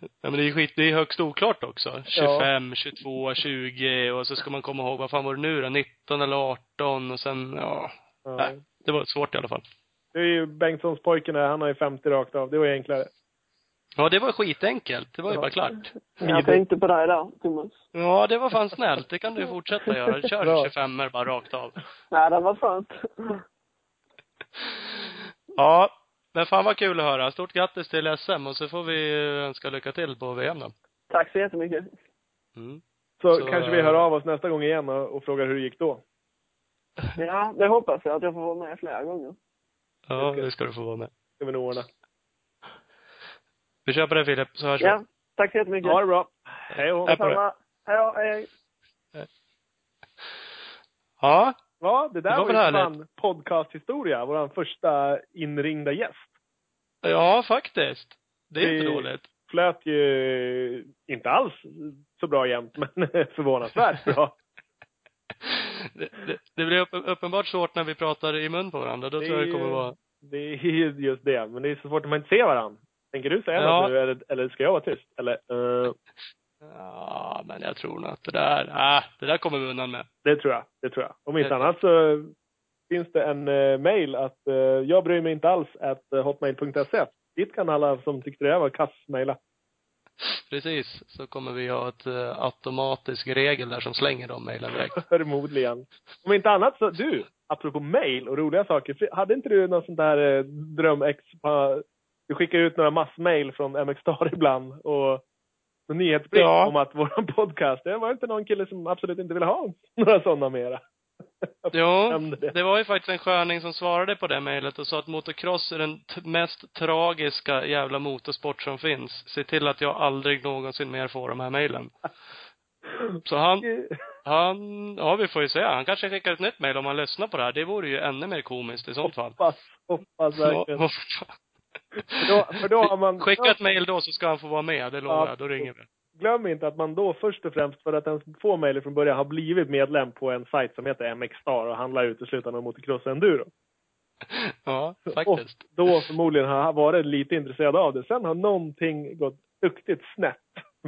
Ja, men det är skit, det är högst oklart också. 25, 22, 20 och så ska man komma ihåg, vad fan var det nu då? 19 eller 18 och sen, ja. Ja. Nej, det var svårt i alla fall. Det är ju Bengtssons pojken där, han har ju 50 rakt av. Det var ju enklare. Ja, det var skitenkelt. Det var ju Ja. bara klart. Jag tänkte på dig där, Thomas. Ja, det var fan snällt. Det kan du fortsätta göra. Kör Bra. 25 bara rakt av. Nej, det var skönt. Ja, men fan vad kul att höra. Stort grattis till SM och så får vi eh, önska lycka till på VM då. Tack så jättemycket. Mm. Så, Så- kanske vi hör av oss nästa gång igen och, och frågar hur det gick då. Ja, det hoppas jag att jag får vara med flera gånger. Ja, det ska du få vara med. Ska vi nog ordna. Vi kör på det Filip, så hörs vi. Ja, tack så jättemycket. Ha det bra. Hej då. Tack. på det. Detsamma. Hej då, hej. hej. Ja, Ja, det Det där var var, väl ju fan podcasthistoria. Vår första inringda gäst. ja faktiskt. Det är inte Vi- dåligt. Flöt ju inte alls så bra jämt, men förvånansvärt bra. Det, det, det blir uppen- uppenbart svårt när vi pratar i mun på varandra. Då Det tror jag det är- kommer vara... Det är ju just det, men det är så svårt när man inte ser varandra. Tänker du säga Ja. något nu eller, eller ska jag vara tyst? Eller, eh, Ja, men jag tror nog att det där, ah, det där kommer vi undan med. det tror jag. Det tror jag. Om inte Det- annat så finns det en eh, mail att eh, jag bryr mig inte alls att eh, hotmail.se. Dit kan alla som tyckte det här var kass mejla. Precis, så kommer vi ha ett eh, automatisk regel där som slänger de mejlen direkt. Förmodligen. Om inte annat så, du, apropå mail och roliga saker. för- Hade inte du någon sån där eh, drömex... på- Du skickar ut några massmail från MX Star ibland och någon nyhetsbrief Ja. om att våran podcast, det var inte någon kille som absolut inte ville ha några sådana mera. Jo, Nämnde det. det var ju faktiskt en sköning som svarade på det mejlet och sa att motocross är den t- mest tragiska jävla motorsport som finns. Se till att jag aldrig någonsin mer får de här mejlen. Så han, han, ja vi får ju se. Han kanske skickar ett nytt mejl om han lyssnar på det här. Det vore ju ännu mer komiskt i sånt fall. Hoppas, hoppas verkligen. Ja, För då, för då har man... Skicka ett mejl då så ska han få vara med, det lovar Ja. jag. Då ringer vi. glöm inte att man då först och främst för att ens få mejlet från början har blivit medlem på en sajt som heter MX Star och handlar uteslutande om motocross och enduro. Ja, Och faktiskt. då förmodligen har han varit lite intresserad av det. Sen har någonting gått duktigt snett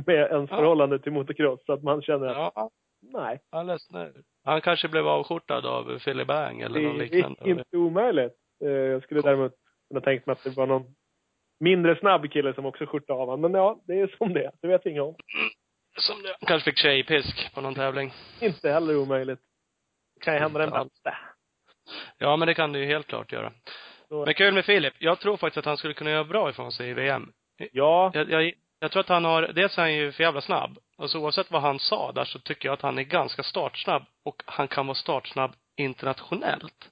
med ens Ja. förhållande till motocross så att man känner att Ja, nej, han ledsnar. Han kanske blev avskjortad av Philly Bang eller det någon är liknande. inte omöjligt. Eh, Jag skulle Cool. däremot kunna tänkt mig att det var någon mindre snabb kille som också skjortade av honom. Men ja, det är som det är. Det vet jag inget om. Som det. Kanske fick tjejpisk på någon tävling. Inte heller omöjligt. Kan ju hända den Inte alls. bästa. Ja, men det kan du ju helt klart göra. Så- Men kul med Filip. Jag tror faktiskt att han skulle kunna göra bra ifrån sig i VM. Ja, Jag, jag, jag tror att han har, dels är han ju för jävla snabb. Och så oavsett vad han sa där så tycker jag att han är ganska startsnabb. Och han kan vara startsnabb internationellt.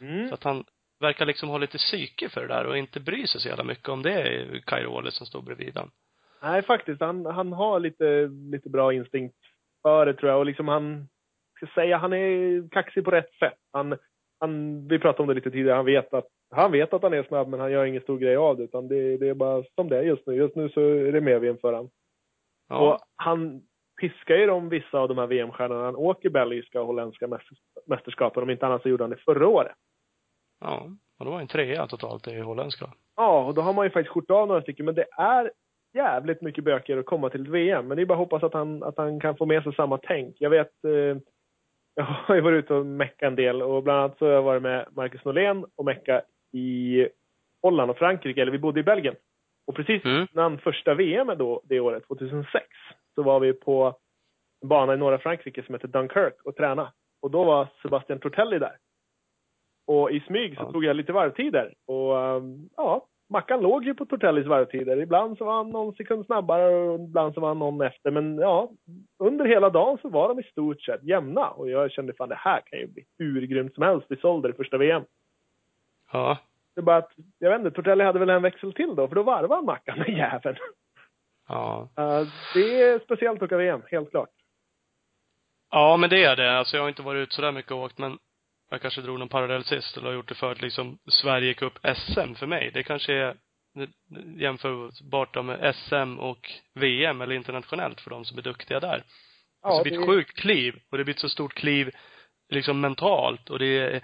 mm. Så att han verkar liksom ha lite psyke för det där och inte bry sig så jävla mycket om det är Kairo Wallace som står bredvid han. Nej, faktiskt. Han, han har lite, lite bra instinkt för det tror jag. Och liksom han, ska säga, han är kaxig på rätt sätt. Han, han, vi pratade om det lite tidigare, han vet att han vet att han är snabb men han gör ingen stor grej av det utan det, det är bara som det är just nu. Just nu så är det mer VM för han. Ja. Och han piskar ju de vissa av de här VM-stjärnorna. Han åker belgiska och holländska mäster- mästerskapen. Om inte annat så gjorde han det förra året. ja. Och det var en trea totalt i holländska. Ja, och då har man ju faktiskt skjutit av några stycken. Men det är jävligt mycket böcker att komma till ett VM. Men det är bara att hoppas att han, att han kan få med sig samma tänk. Jag vet, eh, jag har ju varit ute och meckat en del och bland annat så har jag varit med Marcus Norlén och meckat i Holland och Frankrike, eller vi bodde i Belgien. Och precis Mm. innan första VM då, det året, 2006, så var vi på en bana i norra Frankrike som heter Dunkirk och tränade. Och då var Sebastian Tortelli där. Och i smyg så Ja. tog jag lite varvtider. Och ehm, ja, Mackan låg ju på Tortellis varvtider. Ibland så var han någon sekund snabbare och ibland så var han någon efter. Men ja, under hela dagen så var de i stort sett jämna. Och jag kände fan det här kan ju bli hur grymt som helst i Solder i första VM. Ja. Det är bara att, jag vet inte, Tortelli hade väl en växel till då, för då varvade han Mackan med jäveln. Ja. Eh, det är speciellt att åka VM, helt klart. Ja, men det är det. Alltså jag har inte varit ut så där mycket och åkt, men jag kanske drog någon parallell sist eller har gjort det förut liksom Sverige Cup SM för mig. Det kanske är jämförbart då med SM och VM eller internationellt för de som är duktiga där. Ja, alltså det blir det- ett sjukt kliv och det blir ett så stort kliv liksom mentalt och det är eh,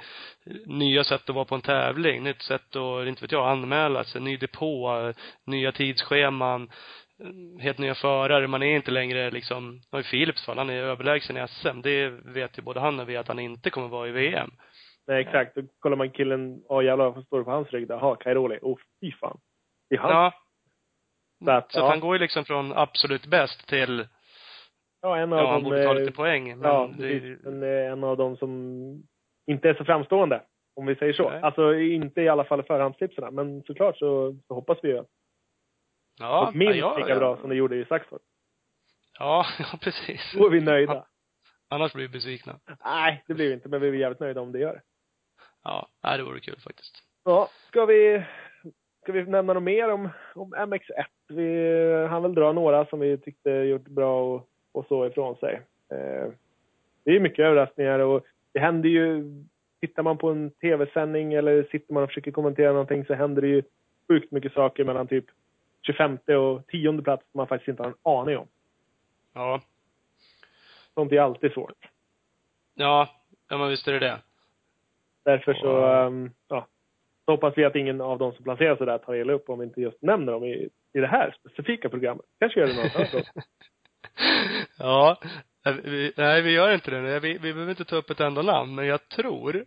nya sätt att vara på en tävling, nytt sätt att, inte vet jag, anmäla sig, ny depå, eh, nya tidsscheman, eh, helt nya förare. Man är inte längre liksom, ja, i Philips fall, han är överlägsen i SM. Det vet ju både han och vi att han inte kommer vara i VM. Nej, exakt. Då kollar man killen, ja jävlar vad står det på hans rygg där? Jaha, Kairoli. Åh, oh, fy fan. Det är han. Ja. Så att, Så att ja. han går ju liksom från absolut bäst till, Ja, en av ja, han de, borde ta lite eh, poäng. Men Ja, det, precis. Men, eh, en av de som inte är så framstående, om vi säger så. Nej. Alltså inte i alla fall i förhandstipsen, men såklart så, så hoppas vi ju att ja, det minst ja, lika ja. bra som det gjorde i Saxford. Ja, ja precis. Då är vi nöjda. Annars blir vi besvikna. Nej, det blir vi inte, men vi är jävligt nöjda om det gör det. Ja, nej, det vore kul faktiskt. Ja, ska vi, ska vi nämna något mer om, om MX1? Vi han väl dra några som vi tyckte gjort bra och, och så ifrån sig. Eh, det är mycket överraskningar och det händer ju... Tittar man på en tv-sändning eller sitter man och försöker kommentera någonting så händer det ju sjukt mycket saker mellan typ 25 och 10 plats som man faktiskt inte har en aning om. Ja. Sånt är alltid svårt. Ja, ja men visst är det det. Därför så, Ja. ehm, ja, så hoppas vi att ingen av de som placerar sig där tar illa upp om vi inte just nämner dem i, i det här specifika programmet. Kanske gör det något annat också. ja. eh, Vi, nej, vi gör inte det nu. Vi, vi behöver inte ta upp ett enda namn, men jag tror,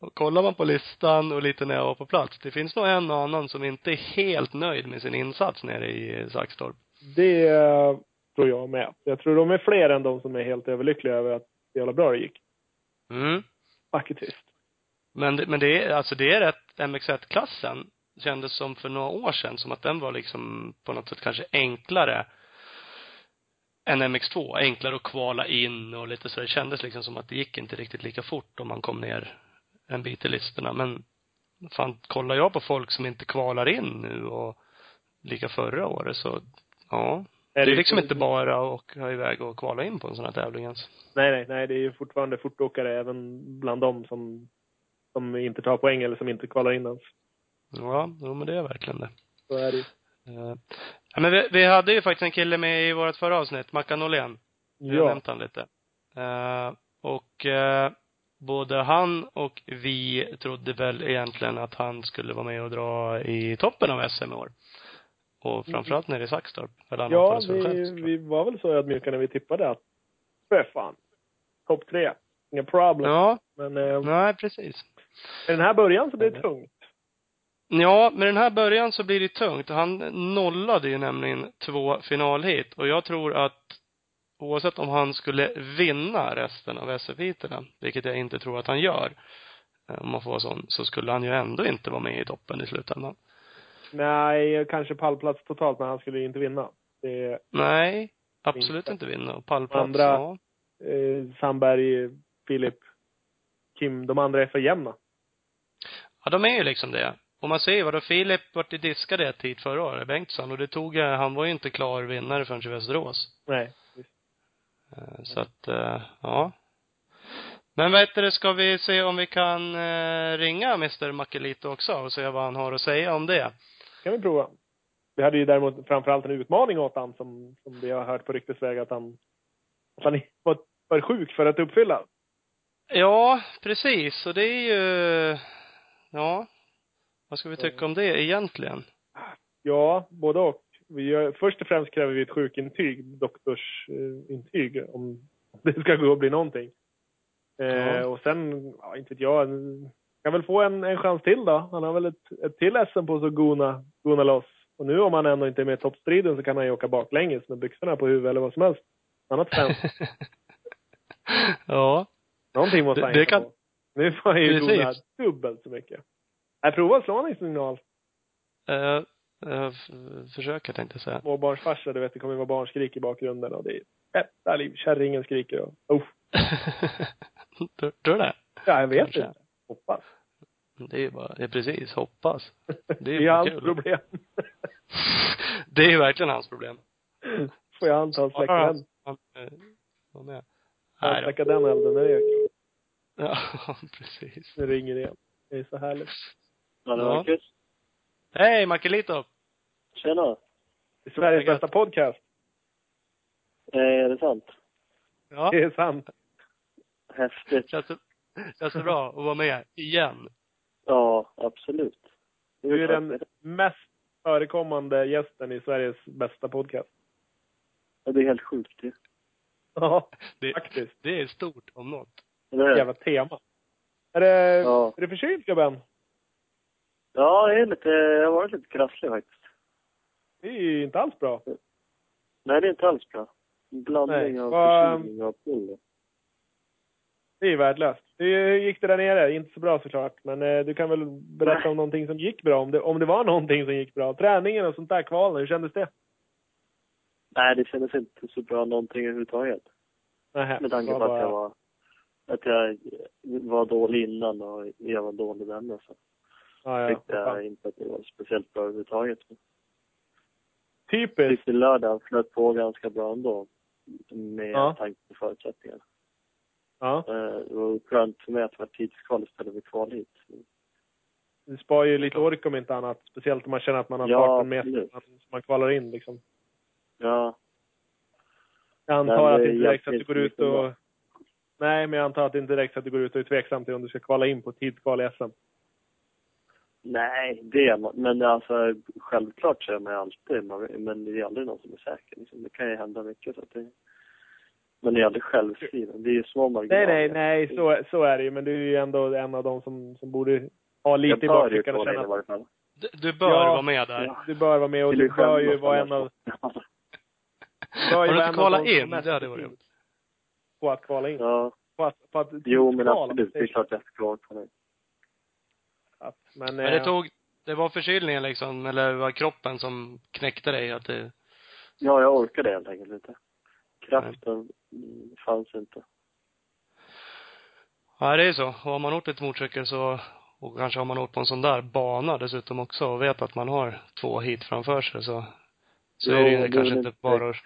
och kollar man på listan och lite när jag var på plats, det finns nog en och annan som inte är helt nöjd med sin insats nere i Saxtorp. Det eh, tror jag med. Jag tror de är fler än de som är helt överlyckliga över att det jävla bra det gick. Mm. Faktiskt. Men, det- men det är, alltså det är rätt, MX1-klassen kändes som för några år sedan som att den var liksom på något sätt kanske enklare än MX2. Enklare att kvala in och lite så. Det kändes liksom som att det gick inte riktigt lika fort om man kom ner en bit i listorna. Men fan, kollar jag på folk som inte kvalar in nu och lika förra året så, ja. Det är liksom inte bara att åka iväg och kvala in på en sån här tävling ens. Nej, nej, nej. Det är ju fortfarande fortåkare även bland dem som, som inte tar poäng eller som inte kvalar in ens. Ja, jo, men det är verkligen det. Så är det ju. Eh, Ja, men vi, vi hade ju faktiskt en kille med i vårt förra avsnitt, Mackan Norlén. Vi har Ja. nämnt han lite. Eh, och eh, både han och vi trodde väl egentligen att han skulle vara med och dra i toppen av SM i år. Och framförallt nere i Saxtorp. Eller han Ja, hoppades väl själv, vi, såklart. vi var väl så ödmjuka när vi tippade att, för fan, topp tre. Inga problem. Ja, Men eh, nej precis. Med den här början så blir det tungt. Ja, med den här början så blir det tungt. Han nollade ju nämligen två finalhit och jag tror att oavsett om han skulle vinna resten av SF-heaterna, vilket jag inte tror att han gör, eh, om man får vara sån, så skulle han ju ändå inte vara med i toppen i slutändan. Nej, kanske pallplats totalt, men han skulle ju inte vinna. Det, Nej, absolut Inte. inte vinna. Och pallplats, Andra- ja. eh, Sandberg, Filip, Kim, de andra är för jämna. Ja, de är ju liksom det. Och man ser ju, vadå, Filip vart ju diskad ett tid förra året, Bengtsson, och det tog, eh, han var ju inte klar vinnare förrän i Västerås. Nej. Eh, Så att, eh, ja. Men vad heter det, ska vi se om vi kan eh, ringa Mr Makelito också och se vad han har att säga om det? kan vi prova. Vi hade ju däremot framförallt en utmaning åt han som, som vi har hört på ryktesväg att han, att han var för sjuk för att uppfylla. Ja, precis. Och det är ju, ja, vad ska vi tycka om det egentligen? Ja, både och. Vi gör, först och främst kräver vi ett sjukintyg, doktorsintyg, om det ska gå att bli någonting. Eh, Ja. och sen, ja, inte vet jag, en- kan väl få en, en chans till då. Han har väl ett, ett till SM på sig att gona, gona loss. Och nu om han ändå inte är med i toppstriden så kan han ju åka baklänges med byxorna på huvudet eller vad som helst. Annat fem. ja. Någonting måste Det- han det hitta kan- på. Nu får han ju Precis. gona dubbelt så mycket. Jag provar att slå honom i signal. Eh, eh, f- försöker tänkte jag säga. småbarnsfarsa, du vet, det kommer vara barnskrik i bakgrunden och det är jävla liv. Kärringen skriker och, oh, tror, tror du det? ja, jag vet Kanske. inte. Hoppas. Det är ju bara, det är precis, hoppas. Det är Det är ju bara hans kul. problem. Det är ju verkligen hans problem. Får jag anta att släcka Ja, den, Han, eh, var med. att Nej då. släcka den elden, men det är kul. Ja, precis. Nu ringer det igen. Det är så härligt. Ja, det Ja. var kul. Hej Makelito! Tjena. Det är Sveriges Det är gött. bästa podcast. Eh, Är det sant? Ja, Det är sant. Häftigt. känns det, känns det bra att vara med igen? Ja, absolut. Det Du är klart. den mest förekommande gästen i Sveriges bästa podcast. Ja, Det är helt sjukt ju. Ja, Det, faktiskt. det är stort om något. Eller hur? Jävla tema. Är det, Ja. är det förkyld, gubben? Ja, det är lite, jag har varit lite krasslig faktiskt. Det är ju inte alls bra. Nej, det är inte alls bra. En Blandning Nej, av vad- förkylning och piller. Det är värdelöst. Hur gick det där nere? Inte så bra såklart, men eh, du kan väl berätta om någonting som gick bra? Om det, om det var någonting som gick bra? Träningen och sånt där, kvalen, hur kändes det? Nej, det kändes inte så bra någonting överhuvudtaget. Nähä, Med tanke det på var att jag bara- var, att jag var dålig innan och jag var dålig därmed så Ja, ja. tyckte jag fan. inte att det var speciellt bra överhuvudtaget. Jag Typiskt. tyckte lördagen flöt på ganska bra ändå. Med Ja. tanke på förutsättningarna. Ja. Eh, Det var skönt för mig att det var tidskval istället för kval hit. Det spar ju lite ork om inte annat. Speciellt om man känner att man har Ja, 18 meter absolut. som man- som man kvalar in liksom. Ja, Jag antar Men att det det inte direkt hjälpte att du går inte ut mycket och... Nej, men jag antar att det inte direkt att du går ut och är tveksam till om du ska kvala in på tidskval i SM. nej, det är man. Men alltså, självklart så är man ju alltid, man, men det är aldrig någon som är säker. Liksom. Det kan ju hända mycket. Så att det, men det är aldrig självskriven. Det är ju små Nej, marginaler. nej, nej, så, så är det ju. Men du är ju ändå en av dem som, som borde ha Jag lite i bör ju bakfickan få och det känna i att varje fall. Du, du bör Ja. vara med där. Ja. Du bör vara med och Vill du du bör ju skämmas vara en annars? av... bör Har ju du vara inte en av kvalat de som in? mest Det hade varit roligt. På att kvala in. Ja, På att, på att jo men kvala, absolut. Det är precis. klart jag ska vara på det. Att- Men, Men det eh, tog, det var förkylningen liksom, eller var kroppen som knäckte dig att det, Ja, jag orkar det helt enkelt inte. Kraften mm, fanns inte. ja det är ju så. Och har man åkt ett motorcykel så, och kanske har man åkt på en sån där bana dessutom också och vet att man har två hit framför sig så, så Jo, är det ju det är kanske väl inte bara att,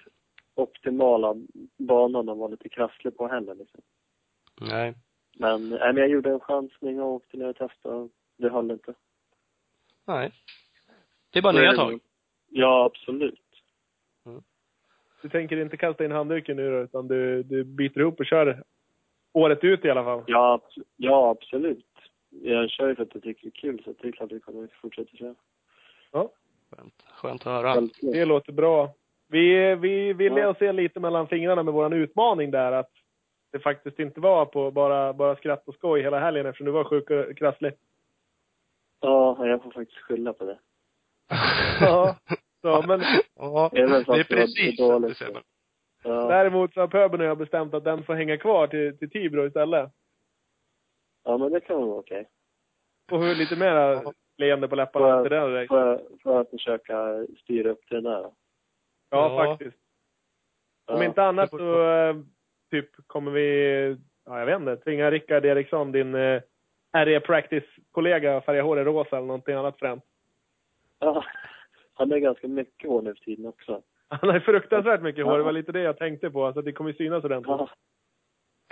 optimala banan att vara lite krasslig på heller. Liksom. nej. Men, nej, men jag gjorde en chansning och åkte ner och testade. och Det höll inte. Nej. Det är bara nya tag. Ja, absolut. du tänker inte kasta in handduken nu då, utan du, du biter ihop och kör året ut i alla fall? Ja, abs- ja, absolut. Jag kör ju för att jag tycker det är kul, så det är klart att jag kommer fortsätta köra. Skönt, skönt att höra. Självklart. Det låter bra. Vi, vi ville Ja. ja. se lite mellan fingrarna med våran utmaning där att det faktiskt inte var på bara, bara skratt och skoj hela helgen eftersom du var sjuk och krasslig. Ja, jag får faktiskt skylla på det. Ja. Så, men Ja, det Även fast är det var precis lite dåligt. det ser man. Ja, däremot så har pöbeln och jag bestämt att den får hänga kvar till, till Tibro istället. ja men det kan vara okej. Och hur lite mera leende på läpparna Ja. till den direkt. Får jag- får jag försöka styra upp det där då? Ja, Ja. faktiskt. Ja. Om inte annat så eh, typ kommer vi, ja jag vet inte, tvinga Rickard Eriksson, din eh, RE Practice-kollega färga håret rosa eller någonting annat fränt. Ja, han är ganska mycket hår nu för tiden också. Han har fruktansvärt mycket hår, det var lite det jag tänkte på. Alltså det kommer synas ordentligt. Ja.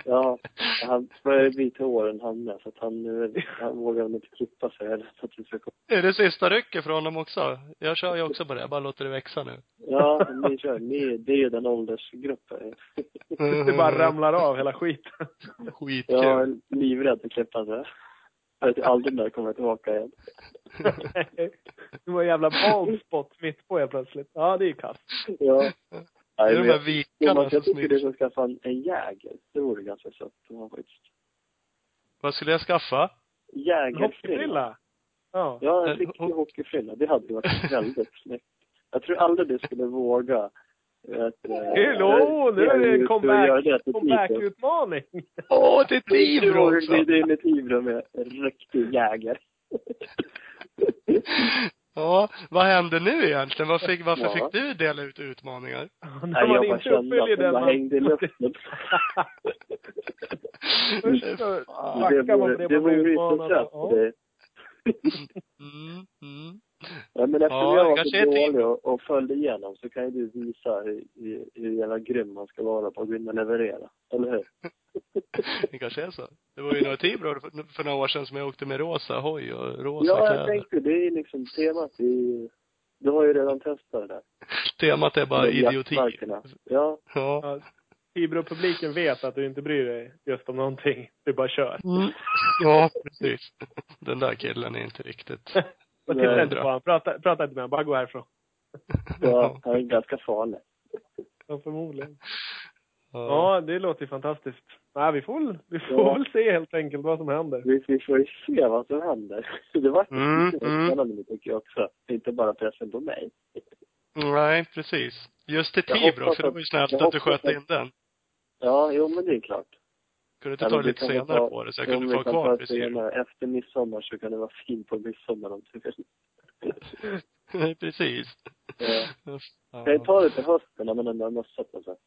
Ja, han börjar byta hår än han med, så att han, eh, han vågar väl inte klippa sig heller. Så att det ska Är det sista rycket från dem också? Jag kör ju också på det. Jag bara låter det växa nu. Ja, ni kör. Ni, det är ju den åldersgruppen. Det Mm. bara ramlar av hela skiten. Skitkul. Jag är livrädd att klippa det. Jag vet aldrig när jag kommer tillbaka igen. det var en jävla bald spot mitt på er plötsligt. Ja, det är ju kass. Ja. det Nej, är de men här jag, Jo, vikarna man, som jag tycker du smyger. ska skaffa en, en jäger. Det vore ganska sött. Det var faktiskt. Vad skulle jag skaffa? Jägerfrilla. Hockeyfrilla. Ja. Ja, En en riktig ho- hockeyfrilla. Det hade ju varit väldigt snyggt. Jag tror aldrig du skulle våga. Vet, eh, Hello! Nu är det en comeback- jag- jag gör det här till Tibro. comeback-utmaning. Åh, det är ett Tibro livro också! också! Det är med Tibro med en riktig jäger. Ja, vad hände nu egentligen? Varför fick, varför Ja. fick du dela ut utmaningar? Nej, När man jag bara inte kände uppfyller att den den bara man... hängde i luften. Först så det backar man på vore, det det man vore blir ju utmanad så trött. av. Ja. Det- Mm, mm. Ja, men eftersom Ja, det jag var kanske så är ett dålig och, och följde igenom så kan ju du visa hur, hur, hur jävla grym man ska vara på att gå in och leverera. Eller hur? Det kanske är så. Det var ju några Tibro för, för några år sedan som jag åkte med rosa hoj och rosa ja, jag kläder. tänkte det är liksom temat i... Du har ju redan testat det där. Temat är bara Med idioti. jaktmarkerna. Ja. Ja. Tibro-publiken vet att du inte bryr dig just om någonting. Du bara kör. Mm. Ja, precis. Den där killen är inte riktigt... Och Nej. titta inte på honom. Prata, prata inte med honom. Bara gå härifrån. ja, han är ganska farlig. Ja, förmodligen. Ja. Ja, det låter ju fantastiskt. Nej, vi får, väl- vi får Ja. väl se helt enkelt vad som händer. Vi, vi får ju se vad som händer. Det var Mm, mm, mm. spännande mm. tycker jag också. Inte bara pressen på mig. Nej, precis. Just till Jag Tibro, hoppas för det var ju snällt jag att du hoppas sköt att- in den. Ja, jo men det är klart. Kunde inte Ja, ta men det vi lite kan väl senare ta- på det, så jag Om kunde vi få ha kan kvar ta frisyren. senare, efter midsommar så kan det vara fin på midsommar om du vill. Nej, precis. Ja. Kan jag Ja, ta det till hösten när man ändå har mössat och så?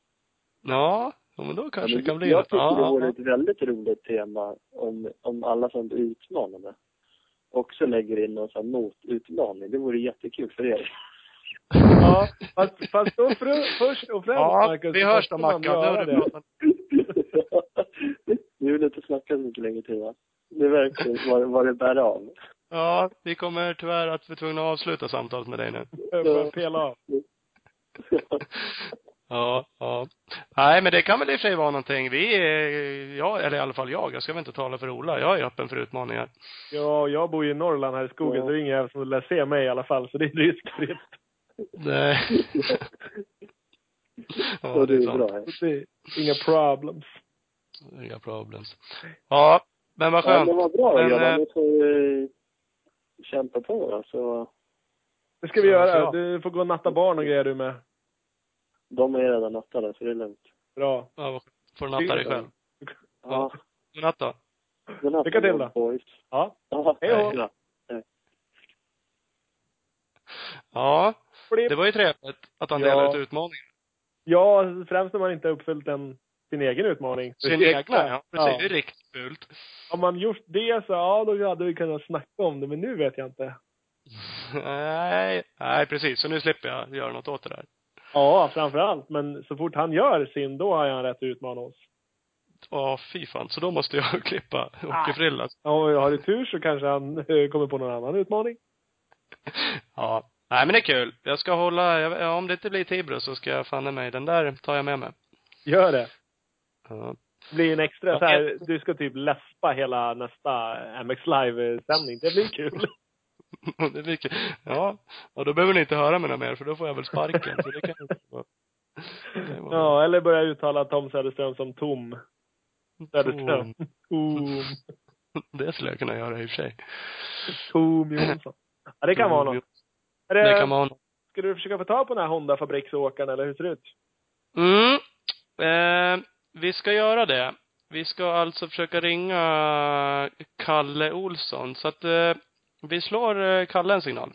ja ja, men då kanske Ja, det men kan bli Jag något. tycker Ja, det vore ja. ett väldigt roligt tema om, om alla sånt utmanande också lägger in någon sån här motutmaning. Det vore jättekul för er. Ja, fast, fast då för, först och främst, Ja, Marcus, vi så hörs måste då man Mackan. Nu göra har du det. pratat. Vi vill inte snacka så mycket längre till va? Det verkar vad, vad det bär av. Ja, vi kommer tyvärr att vi är tvungna att avsluta samtalet med dig nu. Jag får pela av. Ja, ja. Nej, men det kan väl i och för sig vara någonting. Vi är, ja, eller i alla fall jag, jag ska väl inte tala för Ola. Jag är öppen för utmaningar. Ja, och jag bor ju i Norrland här i skogen, Ja. så det är ingen jävel som lär se mig i alla fall, så det är riskfritt. Nej. Så Ja, det det är är sant. bra. Så det är Inga problems. Inga problems. Ja, men vad Ja, skönt. men vad bra Men, grabbar. eh, Nu får vi kämpa på alltså. då. Så Det ska vi Ja, göra. bra. Du får gå och natta barn och grejer du med. de är redan nattade så det är lugnt. Bra. Ja, vad skönt. får du natta dig själv. Ja. Godnatt då. godnatt, Lycka till då. boys. Ja, Ja, Hej då. bra. Ja, flipp. det var ju trevligt att han Ja. delade ut utmaningar. Ja, främst när man inte har uppfyllt en, sin egen utmaning. Sin egna, ja. Precis. Det är Ja. riktigt fult. Om man gjort det så, ja, då hade vi kunnat snacka om det, men nu vet jag inte. Nej, nej precis. Så nu slipper jag göra något åt det där. Ja, framför allt. Men så fort han gör sin, då har han rätt att utmana oss. Ja, fy fan. Så då måste jag klippa hockeyfrilla. Ja, och har du tur så kanske han eh, kommer på någon annan utmaning. Ja. Nej, men det är kul. Jag ska hålla, jag- ja, om det inte blir Tibro så ska jag fanna mig, den där tar jag med mig. Gör det. Ja. Det blir en extra Ja. så här, du ska typ läspa hela nästa MX Live-sändning. Det blir kul. Det är mycket. Ja. Och då behöver ni inte höra mina mer, för då får jag väl sparken. För det kan ju vara. det var- Ja, eller börja uttala Tom Söderström som Tom Söderström. Tom. Det skulle jag kunna göra i och för sig. Tom Jonsson. Ja, det kan vara något. Är Det kan det, vara något. ska du försöka få tag på den här Honda-fabriksåkaren eller hur ser det ut? Mm. Eh, vi ska göra det. Vi ska alltså försöka ringa Kalle Olsson. Så att eh, vi slår eh, Kalle en signal.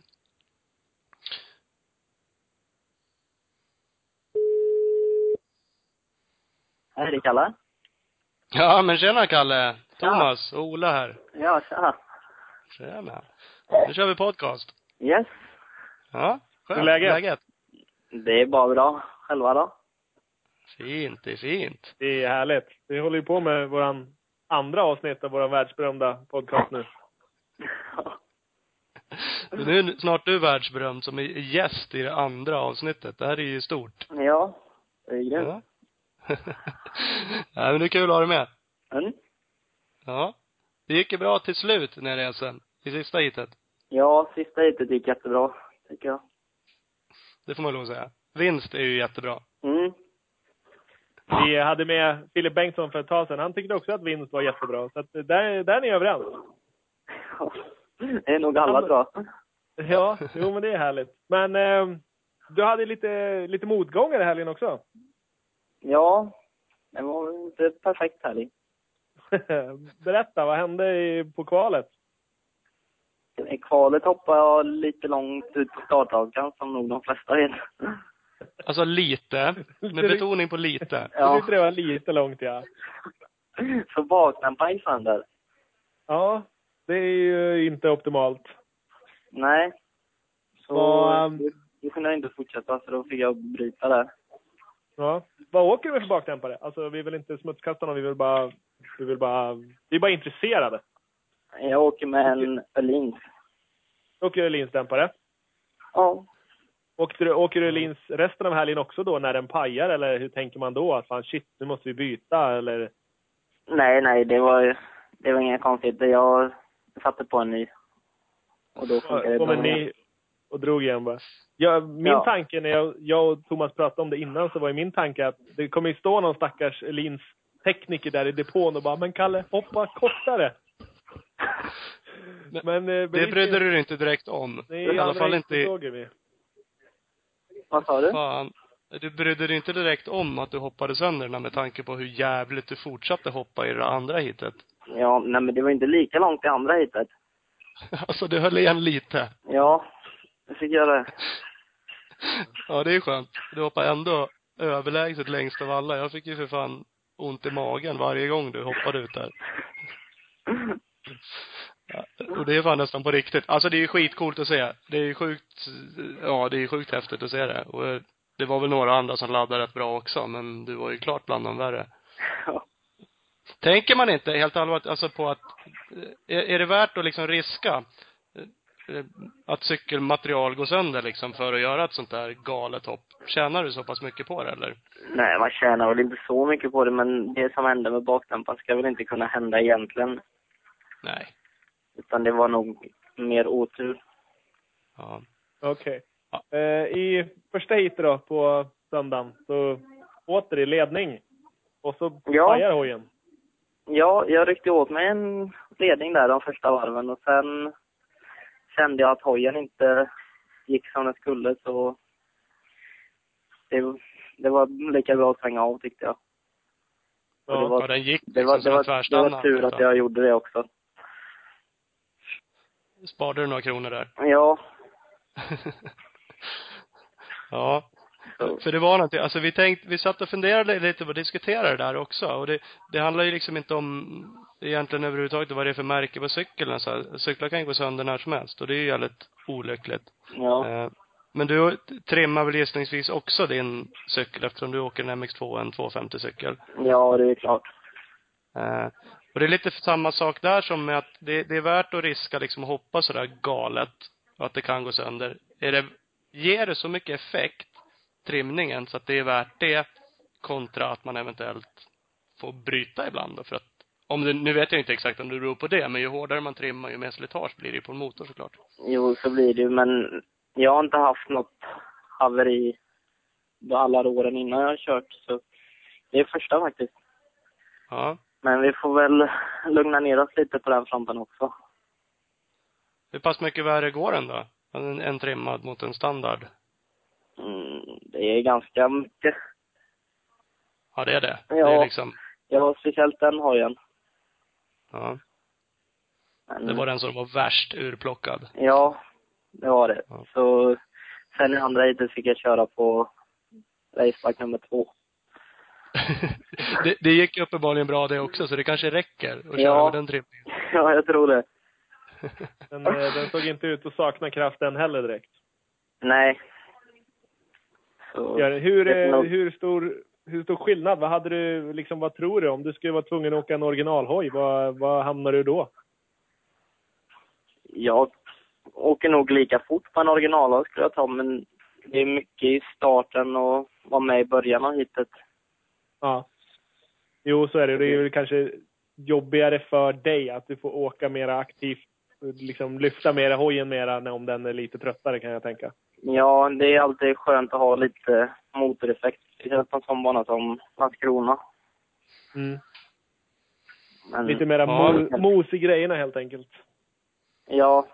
Hej, det är Kalle. Ja, men tjena Kalle. Thomas och Ola här. Ja, tja. Tjena. Nu kör vi podcast. Yes. Ja, skönt. Hur är läget? Det är bara bra. Själva då? Fint, det är fint. Det är härligt. Vi håller ju på med våran andra avsnitt av våran världsberömda podcast nu. Nu är snart du världsberömd som är gäst i det andra avsnittet. Det här är ju stort. ja, det är grymt. Ja. Nej, men det är kul att ha dig med. Mm. Ja. Det gick ju bra till slut, den här resan. I sista heatet. Ja, sista heatet gick jättebra, tycker jag. Det får man lov att säga. Vinst är ju jättebra. Mm. Vi hade med Filip Bengtsson för ett tag sedan. Han tyckte också att vinst var jättebra. Så att där, där är ni överens. Ja. Det är nog alla bra. Ja, jo men det är härligt. Men eh, du hade lite, lite motgångar i helgen också. Ja, det var inte perfekt här i. Berätta, vad hände i, på kvalet? I kvalet hoppade jag lite långt ut på starthakan, som nog de flesta vet. Alltså lite. Med betoning på lite. Jag Ja. tyckte det var lite långt ja. Så baklampan gick sönder. Ja, det är ju inte optimalt. Nej. Så Vad, ehm, då- då kunde jag inte fortsätta, så då fick jag bryta där. Ja. Vad åker du med för bakdämpare? Alltså vi vill inte smutskasta någon, vi vill bara... Vi vill bara... Vi är bara intresserade. Jag åker med en Öhlins. Då åker du Öhlins-dämpare. Ja. Åker du, åker du Öhlins resten av helgen också då när den pajar eller hur tänker man då? Att fan shit, nu måste vi byta eller? Nej, nej, det var, det var inget konstigt. Jag satte på en ny. Och då funkade det Kom en igen. ny och drog igen bara. Ja, min Ja. tanke när jag, jag och Thomas pratade om det innan så var ju min tanke att det kommer ju stå någon stackars Öhlins tekniker där i depån och bara men Kalle hoppa kortare. Men- Men, eh, Det brydde du dig inte direkt om. Nej, I alla fall inte i... såg vi. Vad sa du? Fan. Du brydde dig inte direkt om att du hoppade sönder den här med tanke på hur jävligt du fortsatte hoppa i det andra hitet. Ja, nej men det var inte lika långt i andra heatet. Alltså du höll igen lite. Ja, jag fick göra det. Ja, det är skönt. Du hoppar ändå överlägset längst av alla. Jag fick ju för fan ont i magen varje gång du hoppade ut där. Ja, Och det är fan nästan på riktigt. Alltså det är ju skitcoolt att se. Det är ju sjukt, ja det är ju sjukt häftigt att se det. Och eh, det var väl några andra som laddade rätt bra också, men du var ju klart bland de värre. Ja. Tänker man inte helt allvarligt alltså på att, eh, är, är det värt att liksom riska eh, eh, att cykelmaterial går sönder liksom för att göra ett sånt där galet hopp? Tjänar du så pass mycket på det eller? Nej, man tjänar väl inte så mycket på det, men det som hände med bakdämparen ska väl inte kunna hända egentligen. Nej. Utan det var nog mer otur. Ja. Okej. Eh, I första heatet då, på söndagen, så åter i ledning. Och så Ja. pajar hojen. Ja, jag ryckte åt mig en ledning där de första varven och sen kände jag att hojen inte gick som den skulle så det, det var lika bra att svänga av tyckte jag. Och det Ja. var- ja, den gick Det var, liksom. det liksom var, som en det var tvärstanna. tur att jag gjorde det också. Sparade du några kronor där? Ja, ja. så, För det var någonting, alltså vi tänkte, vi satt och funderade lite på att diskutera det där också och det, det handlar ju liksom inte om egentligen överhuvudtaget vad det är för märke på cykeln så här. Cyklar kan ju gå sönder när som helst och det är ju jävligt olyckligt. ja. Eh, Men du trimmar väl gissningsvis också din cykel eftersom du åker en MX2, en 250 cykel? ja, det är klart. Eh, och det är lite samma sak där som med att det, det är värt att riska liksom att hoppa sådär galet och att det kan gå sönder. Är det, ger det så mycket effekt, trimningen, så att det är värt det kontra att man eventuellt får bryta ibland då för att om det, nu vet jag inte exakt om det beror på det, men ju hårdare man trimmar ju mer slitage blir det ju på en motor såklart. Jo, så blir det ju, men jag har inte haft något haveri då alla åren innan jag har kört så det är första faktiskt. Ja. Men vi får väl lugna ner oss lite på den fronten också. Hur pass mycket värre går den då? En, en trimmad mot en standard? Mm, det är ganska mycket. Ja, det är det. Ja. Det är liksom, Jag har speciellt den hojen. ja. Men, Det var den som var värst urplockad. Ja, det var det. Ja. Så sen i andra heatet fick jag köra på raceback nummer två. det, det gick uppenbarligen bra det också, så det kanske räcker att köra Ja. med den trimningen. Ja, jag tror det. Den, eh, den såg inte ut att sakna kraft den heller direkt. Nej. Så, Göran, Hur, vet eh, nog- hur, stor, hur stor skillnad? Vad, hade du, liksom, vad tror du? Om du skulle vara tvungen att åka en originalhoj, vad, vad hamnar du då? Jag åker nog lika fort på en original skulle jag ta, men det är mycket i starten och vara med i början av hitet. Ja. Jo, så är det. Det är väl kanske jobbigare för dig att du får åka mer aktivt. Liksom lyfta mera hojen mera när- om den är lite tröttare kan jag tänka. Ja, det är alltid skönt att ha lite motoreffekt. Speciellt på en sån bana som Landskrona. Mm. Men, Lite mera Mm. Ja. mo- mos i grejerna helt enkelt. Ja,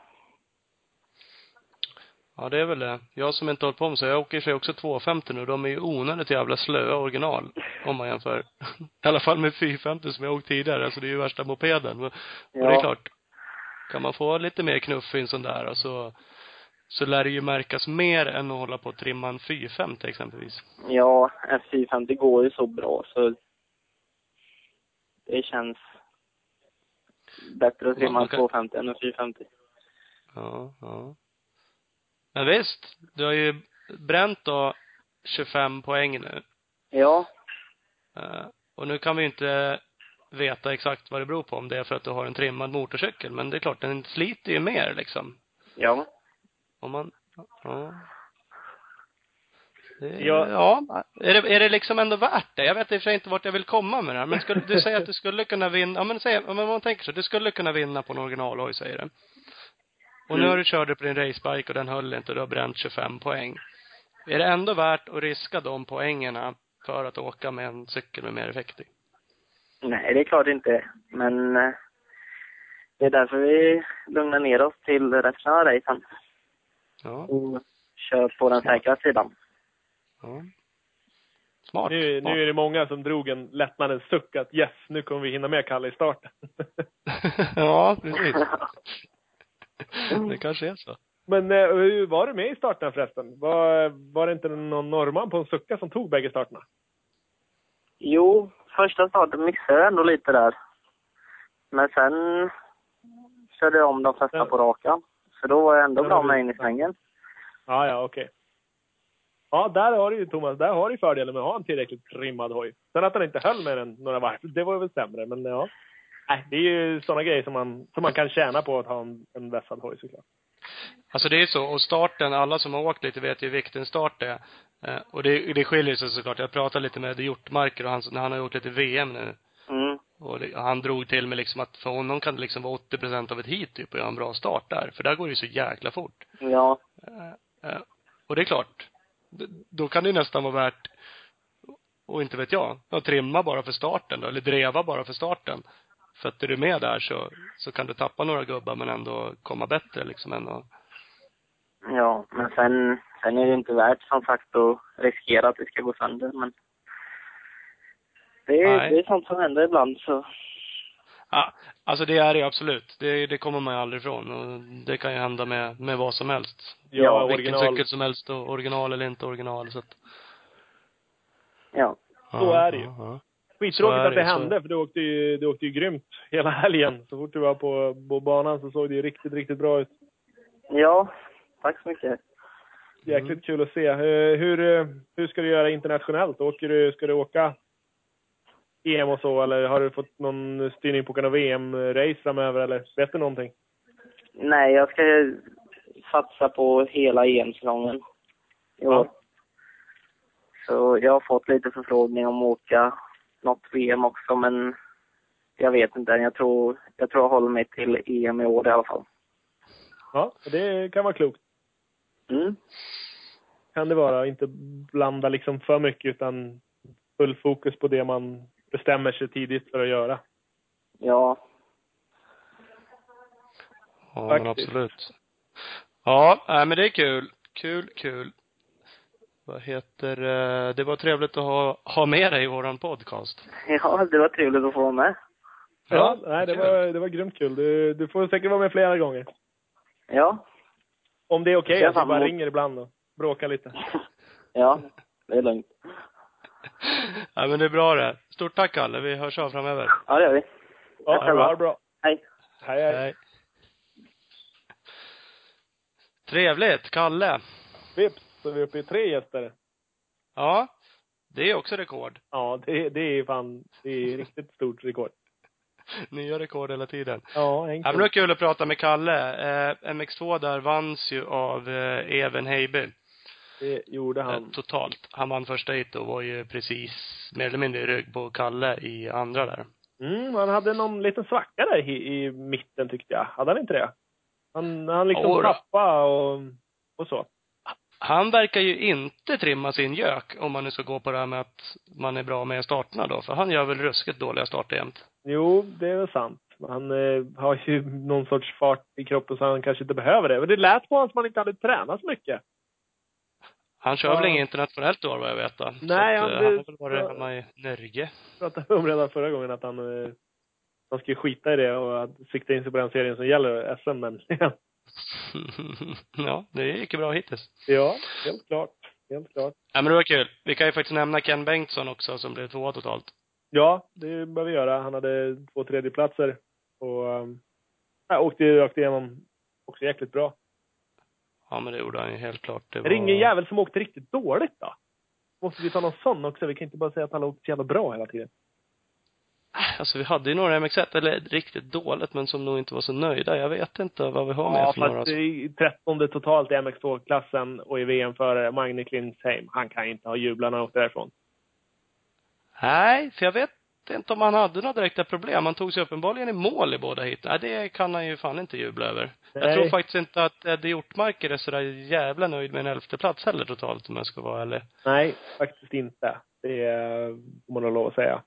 Ja, det är väl det. Jag som inte hållit på med så, jag åker i och för sig också 250 nu. De är ju onödigt jävla slöa original, om man jämför. I alla fall med 450 som jag åkt tidigare, alltså det är ju värsta mopeden. Men, Och det är Ja. klart, kan man få lite mer knuff i en sån där och så, så lär det ju märkas mer än att hålla på och trimma en 450 exempelvis. ja, en 450 går ju så bra så det känns bättre att Ja, trimma man en kan- 250 än en 450. Ja, ja. Men visst, du har ju bränt då 25 poäng nu. Ja, Eh, Och nu kan vi ju inte veta exakt vad det beror på, om det är för att du har en trimmad motorcykel. Men det är klart, den sliter ju mer liksom. ja. Om man, ja. Det, Ja. ja. Är, det, är det liksom ändå värt det? Jag vet i och för sig inte vart jag vill komma med det här, men skulle du säga att du skulle kunna vinna, ja men säg, ja, men om man tänker så, du skulle kunna vinna på en originalhoj säger du. Och nu Mm. har du körde på din racebike och den höll inte och du har bränt 25 poäng. Är det ändå värt att riska de poängerna för att åka med en cykel med mer effekt i? Nej, det är klart inte. Men eh, det är därför vi lugnar ner oss till resten av racen Ja, och kör på den säkra sidan. ja. Smart. Nu, nu är det många som drog en lättnadens suck att yes, nu kommer vi hinna med Kalle i starten. ja, precis. Det kanske är så. Men eh, hur var du med i starten förresten? Var, var det inte någon norrman på en sucka som tog bägge starterna? Jo, första starten missade jag ändå lite där. Men sen körde jag om de flesta på rakan. Så då var jag ändå Ja, bra men- med in i svängen. Ja, ja, okej. Ja, där har du ju Thomas, där har du fördelen med att ha en tillräckligt trimmad hoj. Sen att den inte höll med den några varv, det var väl sämre, men ja. Nej, det är ju sådana grejer som man, som man kan tjäna på att ha en, en vässad hoj såklart. Alltså det är så, och starten, alla som har åkt lite vet ju hur viktig en start är. Eh, och det, det skiljer sig såklart. Jag pratade lite med Hjortmarker och han, när han har gjort lite VM nu. Mm. Och det, han drog till med liksom att för honom kan det liksom vara 80 procent av ett heat typ och göra en bra start där. För där går det ju så jäkla fort. Ja, Eh, och det är klart, d- då kan det ju nästan vara värt, och inte vet jag, att trimma bara för starten då, eller dreva bara för starten. För att är du med där så, så kan du tappa några gubbar men ändå komma bättre liksom än att ja. Men sen, sen är det inte värt som sagt att riskera att det ska gå sönder. Men det, är- Nej. det är sånt som händer ibland så. Ja, alltså det är det absolut. Det, det kommer man ju aldrig ifrån. Och det kan ju hända med, med vad som helst. Ja, Vilken original. cykel som helst, och original eller inte original. Så att, Ja. Så Ja, är det ju. ja, ja. Så Skittråkigt är att det det, så- hände, för du åkte, ju, du åkte ju grymt hela helgen. Så fort du var på, på banan så såg det ju riktigt, riktigt bra ut. Ja, tack så mycket. Jäkligt kul att se. Eh, Hur, eh, hur ska du göra internationellt? Åker du, ska du åka EM och så, eller har du fått någon styrning på några VM-race framöver, eller vet du någonting? Nej, jag ska satsa på hela EM-säsongen i år. Ja. Så jag har fått lite förfrågning om att åka något VM också, men jag vet inte än. Jag tror jag, tror jag håller mig till EM i år i alla fall. Ja, det kan vara klokt. Mm. Kan det vara. Inte blanda liksom för mycket utan full fokus på det man bestämmer sig tidigt för att göra. Ja, Ja, men Faktiskt. absolut. Ja, nej, men det är kul. Kul, kul. Vad heter eh, det? var trevligt att ha, ha med dig i våran podcast. ja det var trevligt att få vara med. Ja, nej, det, kul. var, det var grymt kul. Du, du får säkert vara med flera gånger. Ja, Om det är okej Jag ser att vi fram bara emot- ringer ibland och bråkar lite. ja, det är lugnt. ja, men det är bra det. Stort tack Kalle. Vi hörs av framöver. Ja, det gör vi. Ja, ha det bra. Hej. Hej, hej. Hej. Trevligt. Kalle. Vips så är vi uppe i tre gäster. Ja. Det är också rekord. Ja, det, det är fan, det är riktigt stort rekord. Nya rekord hela tiden. Ja, Ja, men det var kul att prata med Kalle. Eh, MX2 där vanns ju av eh, Even Heiber Det gjorde eh, han. totalt. Han vann första hit och var ju precis mer eller mindre i rygg på Kalle i andra där. Mm, han hade någon liten svacka där i, i mitten tyckte jag. Hade han inte det? Han, han liksom Jodå. tappade och, och så. Han verkar ju inte trimma sin gök om man nu ska gå på det här med att man är bra med starterna då. För han gör väl ruskigt dåliga starter jämt. Jo, det är väl sant. Han eh, har ju någon sorts fart i kroppen så han kanske inte behöver det. Men det lät på honom som han inte hade tränat så mycket. Han kör Ja. väl inget internationellt år vad jag vet då. Nej, så att, han- eh, han har det- väl varit hemma i Norge. Jag pratade om redan förra gången att han, eh, han skulle skita i det och att sikta in sig på den serien som gäller SM. Men ja, det gick ju bra hittills. ja, helt klart. Helt klart. Ja, men det var kul. Vi kan ju faktiskt nämna Ken Bengtsson också som blev tvåa totalt. Ja, det bör vi göra. Han hade två tredjeplatser och um, jag åkte ju rakt igenom också jäkligt bra. Ja, men det gjorde han ju helt klart. Det Är var... det ingen jävel som åkte riktigt dåligt då? Måste vi ta någon sån också? Vi kan inte bara säga att alla åkte så jävla bra hela tiden. Alltså vi hade ju några MX1, eller riktigt dåligt, men som nog inte var så nöjda. Jag vet inte vad vi har med Ja, för några. fast det Alltså. är trettonde totalt i MX2-klassen och i VM-förare, Magne Klinsheim. Han kan inte ha jublat när han åkte därifrån. Nej, för jag vet inte om han hade några direkta problem. Han tog sig uppenbarligen i mål i båda hit. Nej, det kan han ju fan inte jubla över. Jag Nej. tror faktiskt inte att Eddie Hjortmarker är sådär jävla nöjd med en elfte plats heller totalt, om jag ska vara ärlig. Nej, faktiskt inte. Det eh, får man nog lov att säga.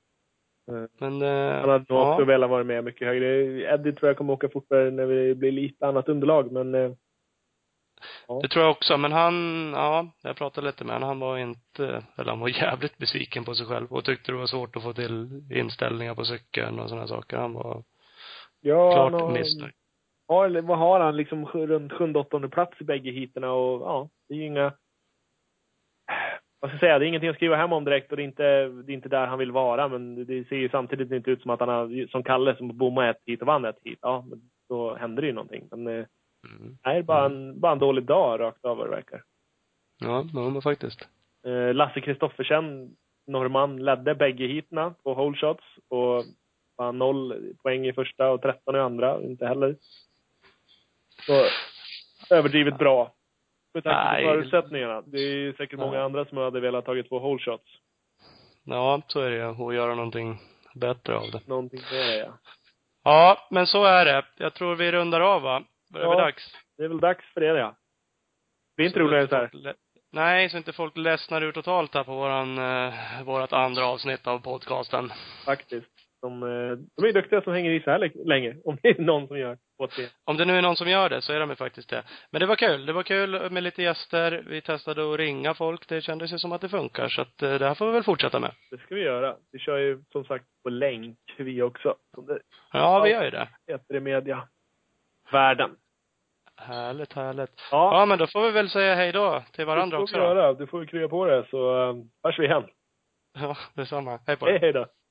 Men, eh, Han hade nog ja. också velat vara med mycket högre. Eddie tror jag kommer åka fortare när det blir lite annat underlag, men eh, Det tror jag också, men han, ja, jag pratade lite med honom. Han var inte, eller han var jävligt besviken på sig själv och tyckte det var svårt att få till inställningar på cykeln och sådana saker. Han var ja, klart han har- missnöjd. har, eller vad har han liksom sj- runt sjunde, åttonde plats i bägge heaterna och ja, det är ju inga... Vad ska jag säga, det är ingenting att skriva hem om direkt och det är inte, det är inte där han vill vara men det- det ser ju samtidigt inte ut som att han har, som Kalle som bommade ett hit och vann ett hit. Ja, men då händer det ju någonting. Men eh, Mm. nej, det är bara en, bara en dålig dag rakt av vad det verkar. Ja, ja, men faktiskt. Eh, Lasse Kristoffersen, norrman, ledde bägge heaterna på hole shots och var noll poäng i första och 13 i andra, inte heller. Så överdrivet bra. Med tanke Nej. på förutsättningarna. Det är ju säkert många Ja. andra som hade velat tagit två hole shots. Ja, så är det ju. Och göra någonting bättre av det. Någonting mer, ja. Ja, men så är det. Jag tror vi rundar av va? Börjar Ja. bli dags. Det är väl dags för det, ja. Det är inte roligare än så här. Le- Nej, så inte folk ledsnar ur totalt här på våran, eh, vårat andra avsnitt av podcasten. faktiskt. De, eh, de är duktiga som hänger i så här lä- länge. Om det är någon som gör åt det. Om det nu är någon som gör det så är de ju faktiskt det. Men det var kul. Det var kul med lite gäster. Vi testade att ringa folk. Det kändes ju som att det funkar. Så att eh, det här får vi väl fortsätta med. Det ska vi göra. Vi kör ju som sagt på länk, vi också. Som det Ja, vi gör ju det. heter i media. Världen. Härligt, härligt. Ja, Ja, men då får vi väl säga hej då till varandra det också får vi då. göra. Du får vi krya på det så eh, hörs vi igen. Ja, detsamma. Hej på er. Hej, hej då.